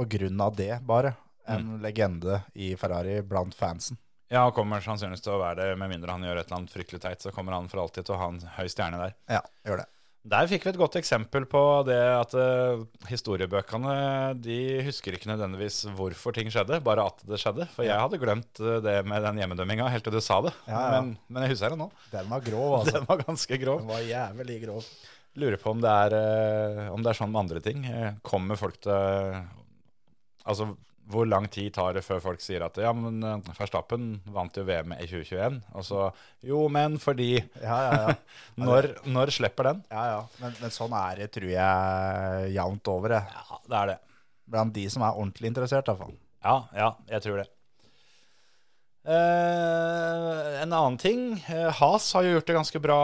på grunn av det bare, en
Mm.
legende i Ferrari blant fansen.
Ja, han kommer sannsynligvis til å være det, med mindre han gjør et eller annet fryktelig teit. Så kommer han for alltid til å ha en høy stjerne der.
Ja, gjør det.
Der fikk vi et godt eksempel på det at eh, historiebøkene de husker ikke nødvendigvis hvorfor ting skjedde, bare at det skjedde. For jeg hadde glemt eh, det med den hjemmedømminga helt til du sa det.
Ja, ja.
Men, men jeg husker det nå.
Den var grov, altså.
Den var ganske grov.
Den var jævlig grov.
Lurer på om det er, eh, om det er sånn med andre ting. Eh, Kommer folk til Altså, hvor lang tid tar det før folk sier at ja, men eh, Verstappen vant jo VM i 2021, og så Jo, men fordi
Ja, ja, ja.
Når, når slipper den?
Ja, ja. Men, men sånn er det, tror jeg, jevnt over. Jeg.
Ja, det er det.
Blant de som er ordentlig interessert, i hvert fall.
Ja, ja, jeg tror det. Eh, en annen ting. eh, Has har jo gjort det ganske bra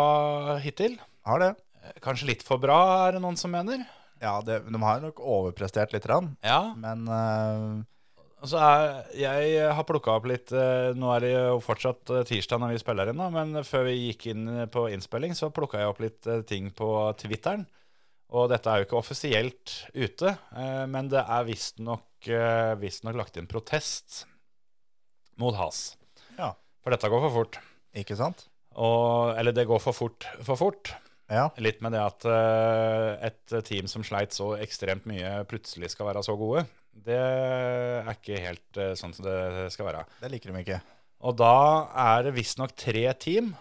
hittil.
Har det.
Eh, Kanskje litt for bra, er det noen som mener.
Ja, det, de har nok overprestert litt, rann,
Ja,
men eh,
og så er, Jeg har plukka opp litt eh, Nå er det jo fortsatt eh, tirsdag når vi spiller inn, da, men før vi gikk inn eh, på innspilling, så plukka jeg opp litt eh, ting på Twitteren. Og dette er jo ikke offisielt ute, eh, men det er visstnok eh, visstnok lagt inn protest mot Has.
Ja.
For dette går for fort.
ikke sant?
Og, eller det går for fort, for fort.
Ja,
Litt med det at eh, et team som sleit så ekstremt mye, plutselig skal være så gode. Det er ikke helt eh, sånn som det skal være.
det liker de ikke.
Og da er det visstnok tre team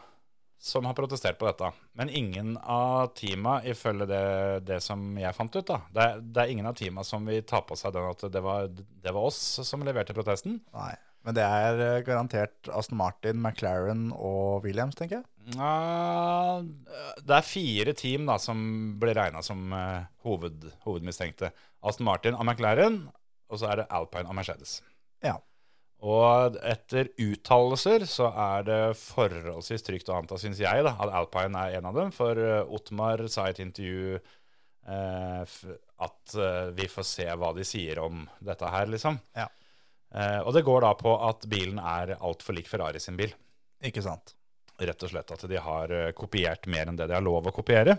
som har protestert på dette. Men ingen av teama, ifølge det, det som jeg fant ut, da, det, er- det er ingen av teama som vil ta på seg den at det var, det var oss som leverte protesten.
Nei. Men det er eh, garantert Aston Martin, McLaren og Williams, tenker jeg.
Nja, Ah, det er fire team da, som ble regna som eh, hoved, hovedmistenkte. Aston Martin av McLaren, og så er det Alpine av Mercedes.
Ja.
Og etter uttalelser så er det forholdsvis trygt å anta, syns jeg, da, at Alpine er en av dem. For eh, Otmar sa i et intervju eh, f at eh, vi får se hva de sier om dette her, liksom.
Ja.
Eh, og det går da på at bilen er altfor lik Ferrari sin bil
Ikke sant?
rett og slett at de har eh, kopiert mer enn det de har lov å kopiere.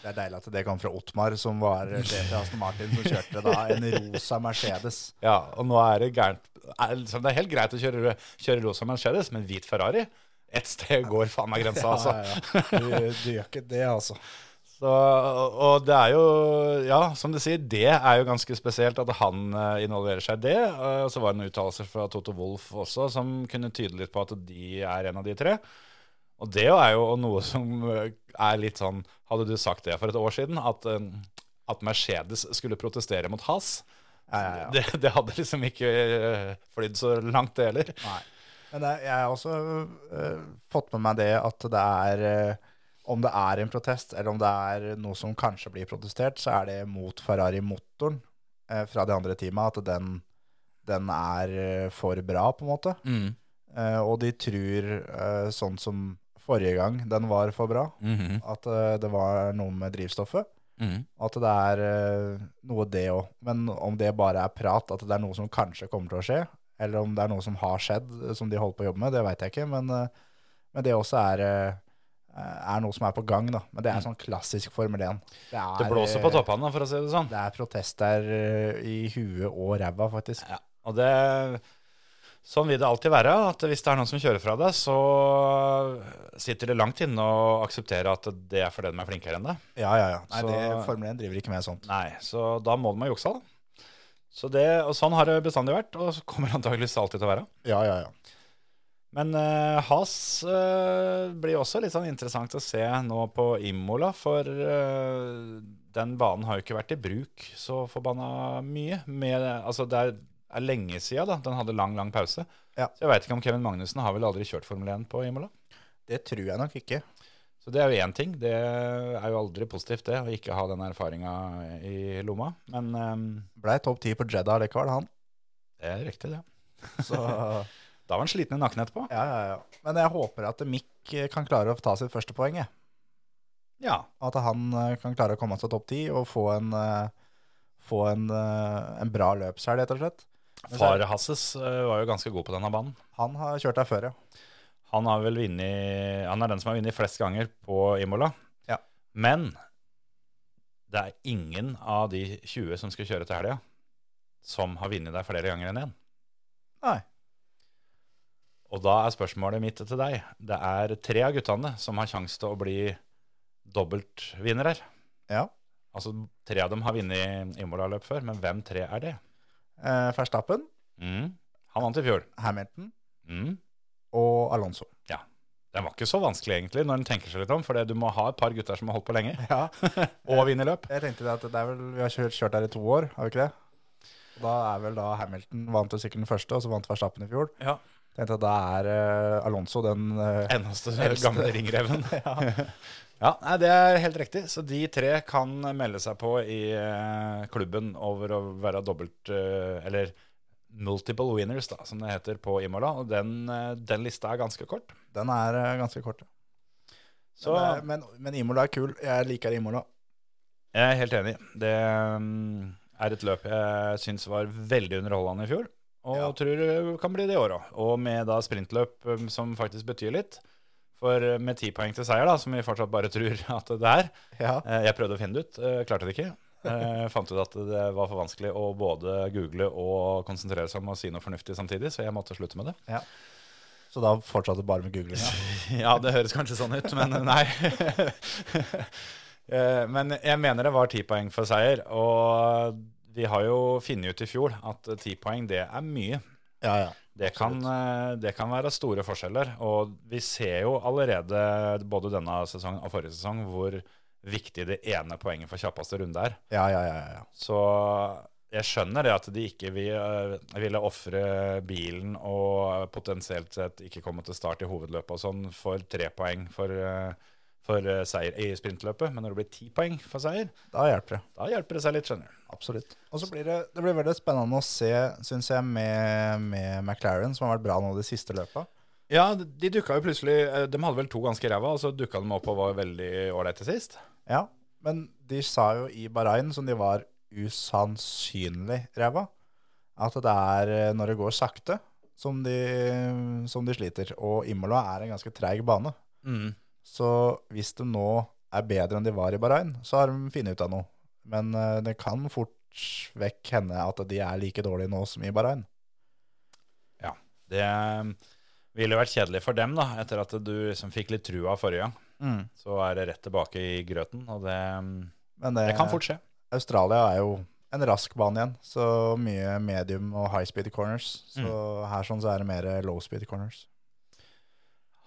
Det er deilig at det kom fra Otmar, som var sjef i Aston Martin, som kjørte da en rosa Mercedes.
Ja, og nå er det gærent er, liksom, Det er helt greit å kjøre, kjøre rosa Mercedes, men hvit Ferrari Ett sted går faen meg grensa, altså.
ja. Du, du gjør ikke det, altså.
Så, og- og det er jo Ja, som du sier, det er jo ganske spesielt at han eh, involverer seg i det. Eh, Og så var det en uttalelse fra Toto Wolff også som kunne tyde litt på at de er en av de tre. Og det er jo noe som eh, er litt sånn Hadde du sagt det for et år siden, at, eh, at Mercedes skulle protestere mot Has,
Ja, ja, ja.
det, det hadde liksom ikke eh, flydd så langt, det heller.
Nei. Men det, jeg har også øh, fått med meg det at det er øh, Om det er en protest, eller om det er noe som kanskje blir protestert, så er det mot Ferrari-motoren eh, fra de andre teama at den, den er øh, for bra, på en måte.
Mm.
Eh, og de tror, eh, sånn som forrige gang den var for bra,
Mm.
at eh, det var noe med drivstoffet. At det er eh, noe det òg. Men om det bare er prat, at det er noe som kanskje kommer til å skje, eller om det er noe som har skjedd, eh, som de holder på å jobbe med, det veit jeg ikke. Men, eh, men det også er, eh, er noe som er på gang, da. Men det er sånn klassisk Formel 1. Det, er,
Mm.
eh,
Det blåser på toppene, for å si det sånn.
Det er protest der eh, i huet og ræva, faktisk.
Ja, og det Sånn vil det alltid være. at Hvis det er noen som kjører fra deg, så sitter det langt inne å akseptere at det er fordi de er flinkere enn deg.
Ja, ja, ja. Nei,
Så-
det, Formel 1 driver ikke med sånt.
Nei, så da må de ha juksa, da. Så det, og sånn har det bestandig vært, og så kommer det antakeligvis alltid til å være.
Ja, ja, ja.
Men eh, Haas eh, blir også litt sånn interessant å se nå på Imola, for eh, den banen har jo ikke vært i bruk så forbanna mye. Med, altså det er, er lenge sia, da. Den hadde lang, lang pause.
Ja.
Så jeg veit ikke om Kevin Magnussen har vel aldri kjørt Formel 1 på Imola.
Det tror jeg nok ikke.
Så det er jo én ting. Det er jo aldri positivt, det, å ikke ha den erfaringa i lomma. Men eh,
Blei topp ti på Jedda likevel, han.
det er riktig, det.
Så ja,
Da var han sliten i nakken etterpå.
ja, ja. Men jeg håper at Mick kan klare å ta sitt første poeng, jeg.
Ja.
At han eh, kan klare å komme seg topp ti og få en, eh, få en, eh, en bra løpshelg, rett og slett. Men så-
Far Hasses eh, var jo ganske god på denne banen.
Han har kjørt der før, ja.
Han, har vel vunnet- han er den som har vunnet flest ganger på Imola.
Ja.
Men det er ingen av de 20 som skal kjøre til helga, som har vunnet der flere ganger enn én.
Nei.
Og da er spørsmålet mitt til deg. Det er tre av guttene som har sjanse til å bli dobbeltvinnere.
ja.
Altså tre av dem har vunnet Imola-løp før, men hvem tre er det?
Eh, Verstappen,
Mm. Han vant i fjor.
Hamilton
Mm.
og Alonso.
Den var ikke så vanskelig egentlig, når en tenker seg litt om, for det- du må ha et par gutter som har holdt på lenge,
Ja,
og vinne løp.
jeg tenkte det at det er vel, vi har kjørt, kjørt der i to år, har vi ikke det? Og da er vel da Hamilton vant jo sikkert den første, og så vant Verstappen i fjor.
Ja.
Tenkte at da er eh, Alonso den eh,
Eneste
Eldste.
gamle ringreven. ja. nei, det er helt riktig. Så de tre kan melde seg på i eh, klubben over å være dobbelt eh, Eller multiple winners, da, som det heter på Imola. Og den, eh, den lista er ganske kort.
Den er eh, ganske kort. ja.
Så
Men, det er- men, men Imola er kul. Jeg liker Imola.
jeg er helt enig. Det mm, er et løp jeg syns var veldig underholdende i fjor. Og
Ja.
tror det kan bli det i år òg. Og med da sprintløp mm, som faktisk betyr litt. For uh, med ti poeng til seier, da, som vi fortsatt bare tror at det er,
Ja.
Eh, Jeg prøvde å finne det ut, eh, klarte det ikke. Eh, Fant ut at det var for vanskelig å både google og konsentrere seg om å si noe fornuftig samtidig, så jeg måtte slutte med det.
Så da fortsatte bare med googlinga.
Ja, det høres kanskje sånn ut, men nei. Eh, Men jeg mener det var ti poeng for seier, og vi har jo funnet ut i fjor at ti poeng, det er mye.
Ja, ja.
Det kan, eh, det kan være store forskjeller, og vi ser jo allerede både denne sesongen og forrige sesong hvor viktig det ene poenget for kjappeste runde er.
Ja, ja, ja, ja.
Så jeg skjønner det at de ikke vil, eh, ville ofre bilen og potensielt sett ikke komme til start i hovedløpet og sånn for tre poeng for, eh, for eh, seier i sprintløpet, men når det blir ti poeng for seier,
Da hjelper det.
da hjelper det seg litt, skjønner du.
Absolutt. Og så blir det, det blir veldig spennende å se, syns jeg, med, med McLaren, som har vært bra nå de siste løpa.
Ja, de dukka jo plutselig eh, De hadde vel to ganske ræva, og så dukka de opp og var veldig ålreite sist.
Ja, men de sa jo i Bahrain, som de var usannsynlig ræva, at det er eh, når det går sakte som de, som de sliter. Og Imola er en ganske treig bane.
Mm.
Så hvis de nå er bedre enn de var i Bahrain, så har de funnet ut av noe. Men eh, det kan fort vekk hende at de er like dårlige nå som i Bahrain.
Ja. Det ville jo vært kjedelig for dem, da, etter at du liksom fikk litt trua forrige gang.
Mm.
Så er det rett tilbake i grøten, og det, eh,
Men det,
det kan fort skje.
Australia er jo en rask bane igjen, så mye medium og high speed corners. Så
Mm.
her sånn så er det mer low speed corners.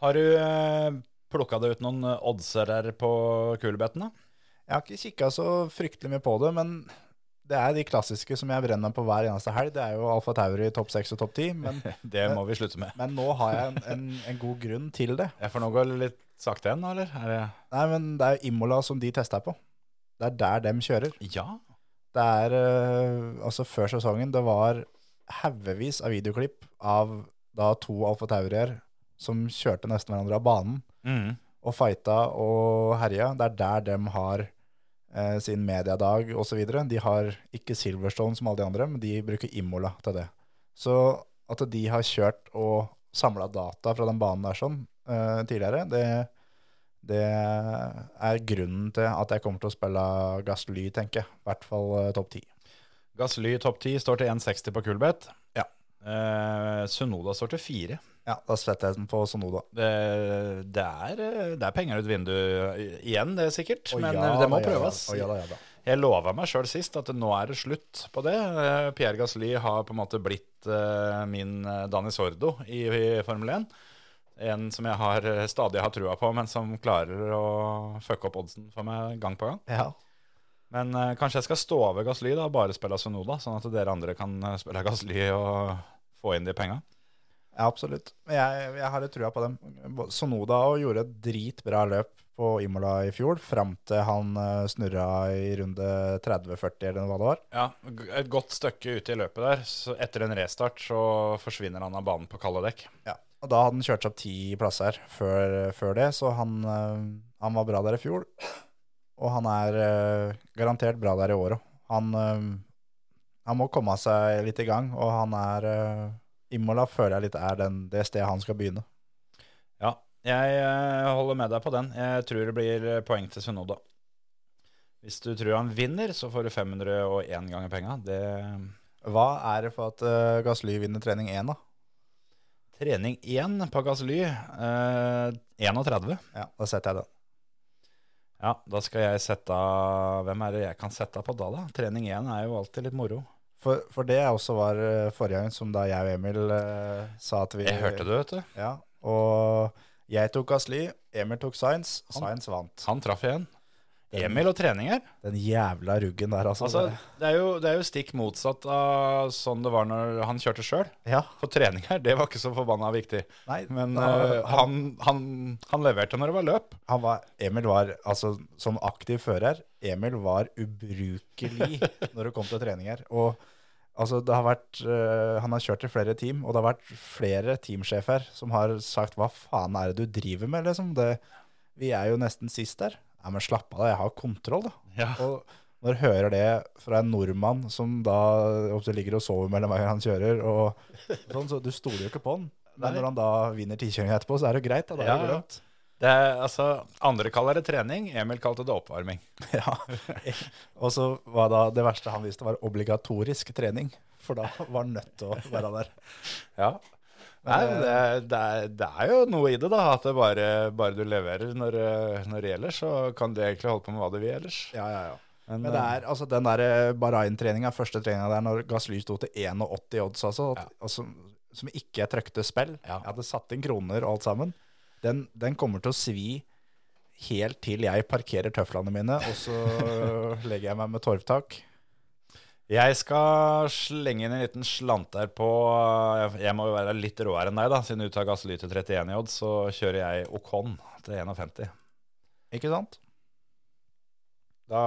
Har du eh, plukka deg ut noen oddser her på kulebetten, da?
Jeg har ikke kikka så fryktelig mye på det, men det er de klassiske som jeg brenner på hver eneste helg. Det er jo Alfa Tauri topp seks og topp ti, men,
Det må vi slutte med.
men nå har jeg en, en, en god grunn til det.
Jeg får nå gå litt sakte igjen, nå, eller? Er det
Nei, men det er jo Imola som de testa på. Det er der dem kjører.
Ja.
Det er eh, altså før sesongen, det var haugevis av videoklipp av da to Alfa Taurier som kjørte nesten hverandre av banen.
Mm.
og fighta og herja. Det er der de har eh, sin mediedag osv. De har ikke Silverstone som alle de andre, men de bruker Imola til det. Så at de har kjørt og samla data fra den banen der sånn eh, tidligere, det, det er grunnen til at jeg kommer til å spille Gasly, tenker jeg. I hvert fall eh, topp ti.
Gasly topp 10 står til 1,60 på kulebett. Ja. Eh, Sunoda står til 4.
Ja, da svetter jeg den på Sonoda.
Det, det, er, eh, det er penger ut vinduet igjen, det er sikkert. men eh, det må prøves.
Ja, da, ja, da.
Jeg lova meg sjøl sist at nå er det slutt på det. Eh, Pierre Gasly har på en måte blitt eh, min eh, Dani Sordo i, i Formel 1. En som jeg har, eh, stadig har trua på, men som klarer å fucke opp oddsen for meg gang på gang.
Ja.
Men eh, kanskje jeg skal stå over Gasly da, og bare spille Sonoda, sånn at dere andre kan eh, spille Gasly og få inn de penga.
Ja, absolutt. Men Jeg, jeg har litt trua på dem. Sonoda og gjorde et dritbra løp på Imola i fjor, fram til han eh, snurra i runde 30-40, eller hva det var.
Ja, g- et godt stykke ute i løpet der. Så etter en restart så forsvinner han av banen på kalde dekk.
Og da hadde han kjørt seg opp ti plasser før, før det, så han, eh, han var bra der i fjor. Og han er eh, garantert bra der i år òg. Han, eh, han må komme seg litt i gang, og han er eh, Imola føler jeg litt er den, det stedet han skal begynne.
Ja, jeg eh, holder med deg på den. Jeg tror det blir eh, poeng til Sunoda. Hvis du tror han vinner, så får du 501 ganger penga. Det
Hva er det for at eh, Gasly vinner trening én, da?
Trening 1 på Gasly, eh, 31.
Ja, da setter jeg den.
Ja, da skal jeg sette Hvem er det jeg kan sette på da, da? Trening 1 er jo alltid litt moro.
For, for det også var eh, forrige gang som da jeg og Emil eh, sa at vi
Jeg hørte det, vet du.
Ja, og jeg tok Gasli, Emil tok Science, og
Han-
Science vant.
Han traff igjen. Emil og trening her.
Den jævla ruggen der, altså.
Altså, det, er jo, det er jo stikk motsatt av sånn det var når han kjørte sjøl.
ja,
For trening her, det var ikke så forbanna viktig.
nei,
Men
da,
eh, han, han, han leverte når det var løp.
han var, Emil var, altså som aktiv fører, Emil var ubrukelig når det kom til treninger. Og altså, det har vært, eh, han har kjørt i flere team, og det har vært flere teamsjefer som har sagt, hva faen er det du driver med, liksom? Det, vi er jo nesten sist der. Ja, men slapp av da, jeg har kontroll da.
Ja.
Og når jeg hører det fra en nordmann som da ofte ligger og sover mellom hver gang han kjører, og sånn, så du stoler jo ikke på han. Men
Nei.
når han da vinner tikjøringen etterpå, så er det jo greit da, da er det
Ja, ja.
glemt.
Det er, altså, andre kaller det trening, Emil kalte det oppvarming.
Ja. Og så var da det verste han visste var obligatorisk trening, for da var han nødt til å være der.
Ja. Nei, men det, det, er, det er jo noe i det, da. At det bare, bare du leverer når, eh, når det gjelder, så kan du egentlig holde på med hva du vil ellers.
Ja, ja, ja.
Men,
Men det
eh,
er altså den der Bahrain-treninga, første treninga der når Gasly sto til 81 i odds, altså, at, altså som ikke trøkte spill.
Ja.
Jeg hadde satt inn kroner og alt sammen. Den, den kommer til å svi helt til jeg parkerer tøflene mine, og så legger jeg meg med torvtak.
Jeg skal slenge inn en liten slant der på
eh,
jeg- Jeg må jo være litt råere enn deg, da. Siden du tar gasslyter 31 i odds, så kjører jeg Ocon til 51.
Ikke sant? Da,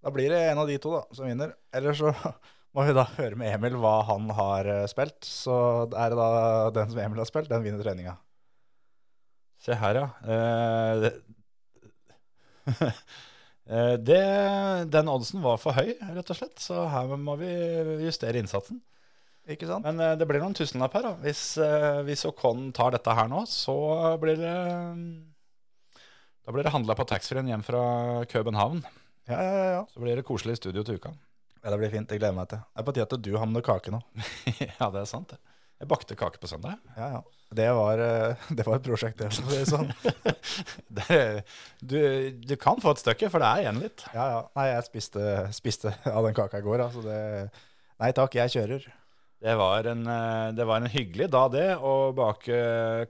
da blir det en av de to da, som vinner. Eller så må vi da høre med Emil hva han har eh, spilt. Så er det da den som Emil har spilt, den vinner treninga.
Se her, ja. Eh, det- Eh, det, den oddsen var for høy, rett og slett, så her må vi justere innsatsen.
Ikke sant?
Men eh, det blir noen tusenlapp her, da. Hvis, eh, hvis Ocon tar dette her nå, så blir det Da blir det handla på taxfree-en hjem fra København.
Ja, ja, ja, ja.
Så blir det koselig studio til uka.
ja. Det blir fint. Jeg gleder meg til. Det er på tide at du har med noe kake nå.
ja, det er sant, det. Jeg bakte kake på søndag.
Ja, ja. Det var, eh, det var et prosjekt, det. for å si det Sånn.
Det, du, du kan få et stykke, for det er igjen litt.
Ja, ja. Nei, jeg spiste, spiste av den kaka i går. Altså det, nei takk, jeg kjører.
Det var, en, eh, det var en hyggelig dag, det, å bake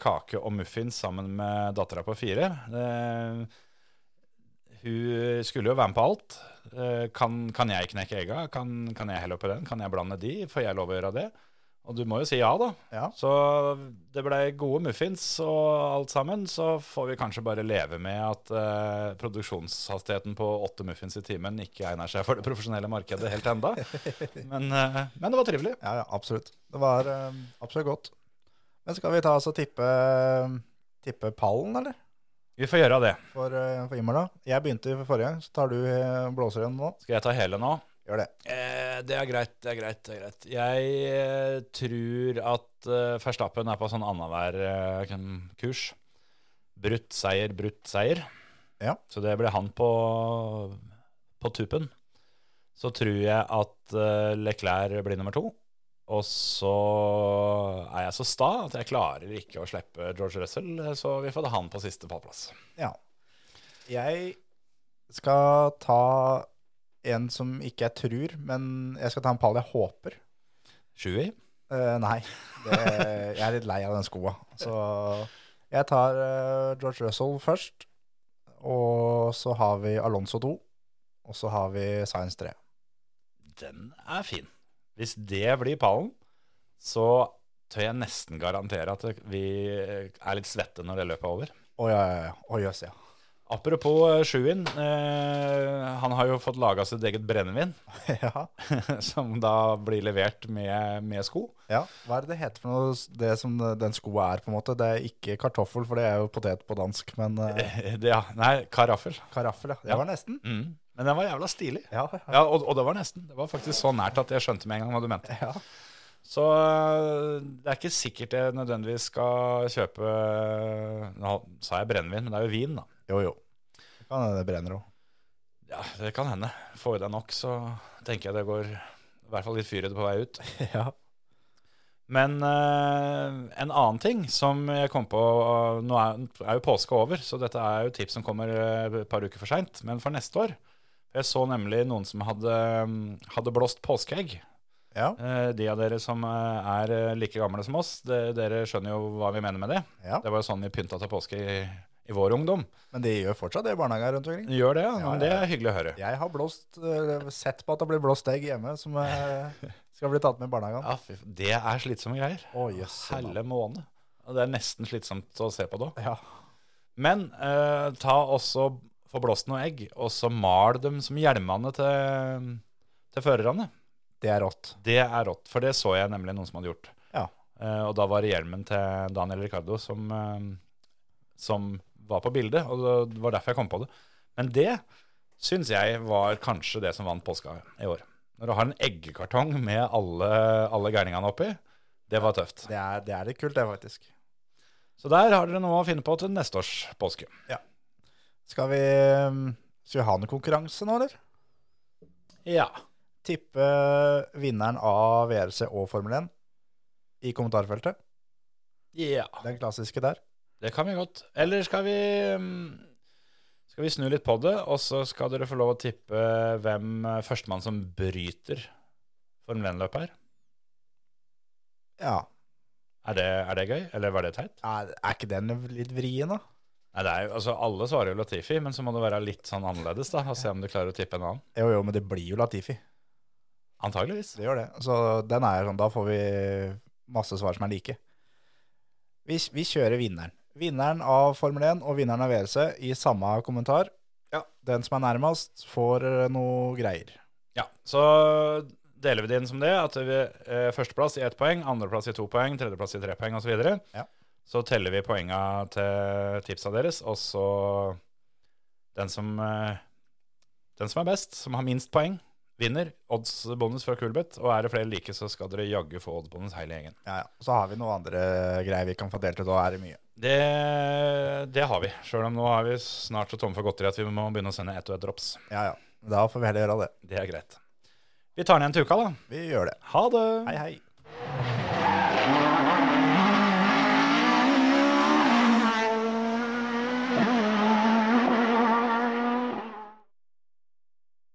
kake og muffins sammen med dattera på fire. Eh, Hun skulle jo være med på alt. Eh, Kan, kan jeg knekke egga? Kan, kan jeg helle oppi den? Kan jeg blande de? Får jeg lov å gjøre det? Og du må jo si ja, da.
Ja.
Så det blei gode muffins og alt sammen. Så får vi kanskje bare leve med at eh, produksjonshastigheten på åtte muffins i timen ikke egner seg for det profesjonelle markedet helt enda. Men, eh, men det var trivelig.
Ja, ja, absolutt. Det var eh, absolutt godt. Men skal vi ta oss og tippe, eh, tippe pallen, eller?
Vi får gjøre det.
For, uh, for Imar, da. Jeg begynte for forrige gang, så tar du eh, blåser igjen nå.
Skal jeg ta hele nå?
Gjør det.
Eh, det er greit, det er greit. det er greit. Jeg eh, tror at eh, Verstappen er på sånn annenhver eh, kan- kurs. Brutt seier, brutt seier.
Ja.
Så det blir han på, på tuppen. Så tror jeg at eh, Leclerc blir nummer to. Og så er jeg så sta at jeg klarer ikke å slippe George Russell, eh, så vi får ta han på siste pallplass.
Ja. Jeg skal ta en som ikke jeg tror, men jeg skal ta en pall jeg håper.
Sjuer.
Eh, nei, det, jeg er litt lei av den skoa. Så jeg tar eh, George Russell først. Og så har vi Alonso 2. Og så har vi Science 3.
Den er fin. Hvis det blir pallen, så tør jeg nesten garantere at vi er litt svette når det løpet er over.
Å ja, ja, ja. Å jøss, ja.
Apropos eh, Sjuin, eh, han har jo fått laga sitt eget brennevin,
ja.
som da blir levert med, med sko.
Ja, Hva er det det heter for noe, det som den skoa er, på en måte? Det er ikke kartoffel, for det er jo potet på dansk, men eh,
Eh, det- Ja, nei, karaffel.
karaffel, ja. Det
Ja.
var nesten.
Mm. Men den var jævla stilig.
Ja, ja.
Ja, og, og det var nesten. Det var faktisk så nært at jeg skjønte med en gang hva du mente.
ja.
Så øh, det er ikke sikkert jeg nødvendigvis skal kjøpe Nå sa jeg brennevin, men det er jo vin, da.
Jo, jo. Det kan hende det brenner òg.
Ja, det kan hende. Får vi deg nok, så tenker jeg det går i hvert fall litt fyr i det på vei ut.
Ja.
Men øh, en annen ting som jeg kom på øh, Nå er, er jo påske over, så dette er jo tips som kommer øh, et par uker for seint. Men for neste år Jeg så nemlig noen som hadde, øh, hadde blåst påskeegg.
Ja.
Eh, De av dere som eh, er eh, like gamle som oss, de- dere skjønner jo hva vi mener med det.
Ja.
Det var jo sånn vi pynta til påske i, i vår ungdom.
Men de gjør fortsatt det i barnehager rundt omkring.
Gjør det, ja.
Ja,
men
ja,
det
ja.
er hyggelig å høre.
Jeg har blåst, eh, sett på at det blir blåst egg hjemme som eh, skal bli tatt med i barnehagen.
Ja, fy f- det er slitsomme greier.
Å, jøsse navn.
Helle måned. Og Det er nesten slitsomt å se på da.
Ja.
Men eh, ta også få blåst noe egg, og så mal dem som hjelmene til, til førerne.
Det er rått.
Det er rått, for det så jeg nemlig noen som hadde gjort.
Ja.
Eh, og da var det hjelmen til Daniel Ricardo som, eh, som var på bildet, og det var derfor jeg kom på det. Men det syns jeg var kanskje det som vant påska i år. Når du har en eggekartong med alle, alle gærningene oppi, det var tøft.
Det er, det er litt kult, det, faktisk.
Så der har dere noe å finne på til neste års påske.
Skal vi, eh, skal vi ha noen konkurranse nå, eller?
Ja.
Tippe vinneren av VRC og Formel 1 i kommentarfeltet.
ja.
Den klassiske der.
Det kan vi godt. Eller skal vi mm, skal vi snu litt på det, og så skal dere få lov å tippe hvem eh, førstemann som bryter Formel 1-løpet her.
Ja.
Er det, er det gøy, eller var det teit?
Er, er ikke den litt vrien, da?
Nei, det er jo, altså Alle svarer jo Latifi, men så må det være litt sånn annerledes, da, og se om du klarer å tippe en annen.
Jo, jo, men det blir jo Latifi.
Antageligvis.
Det gjør det. Så den er sånn, da får vi masse svar som er like. Vi, vi kjører vinneren. Vinneren av Formel 1 og vinneren av VRC i samme kommentar. Ja. Den som er nærmest, får eh, noe greier.
Ja, så deler vi det inn som det, at vi, eh, førsteplass i ett poeng, andreplass i to poeng, tredjeplass i tre poeng, osv. Så, videre.
Ja.
så teller vi poenga til tipsa deres, og så den som, eh, den som er best, som har minst poeng, vinner. Oddsbonus fra Kulbeth, og er det flere like, så skal dere jaggu få oddsbonus hele gjengen.
Ja, ja. Så har vi noen andre greier vi kan få delt ut, og da er det mye.
Det, det har vi, sjøl om nå er vi snart så tomme for godteri at vi må begynne å sende ett og ett drops.
Ja, ja. Da får vi heller gjøre det.
Det er greit. Vi tar den igjen til uka, da.
Vi gjør det.
Ha det!
Hei, hei.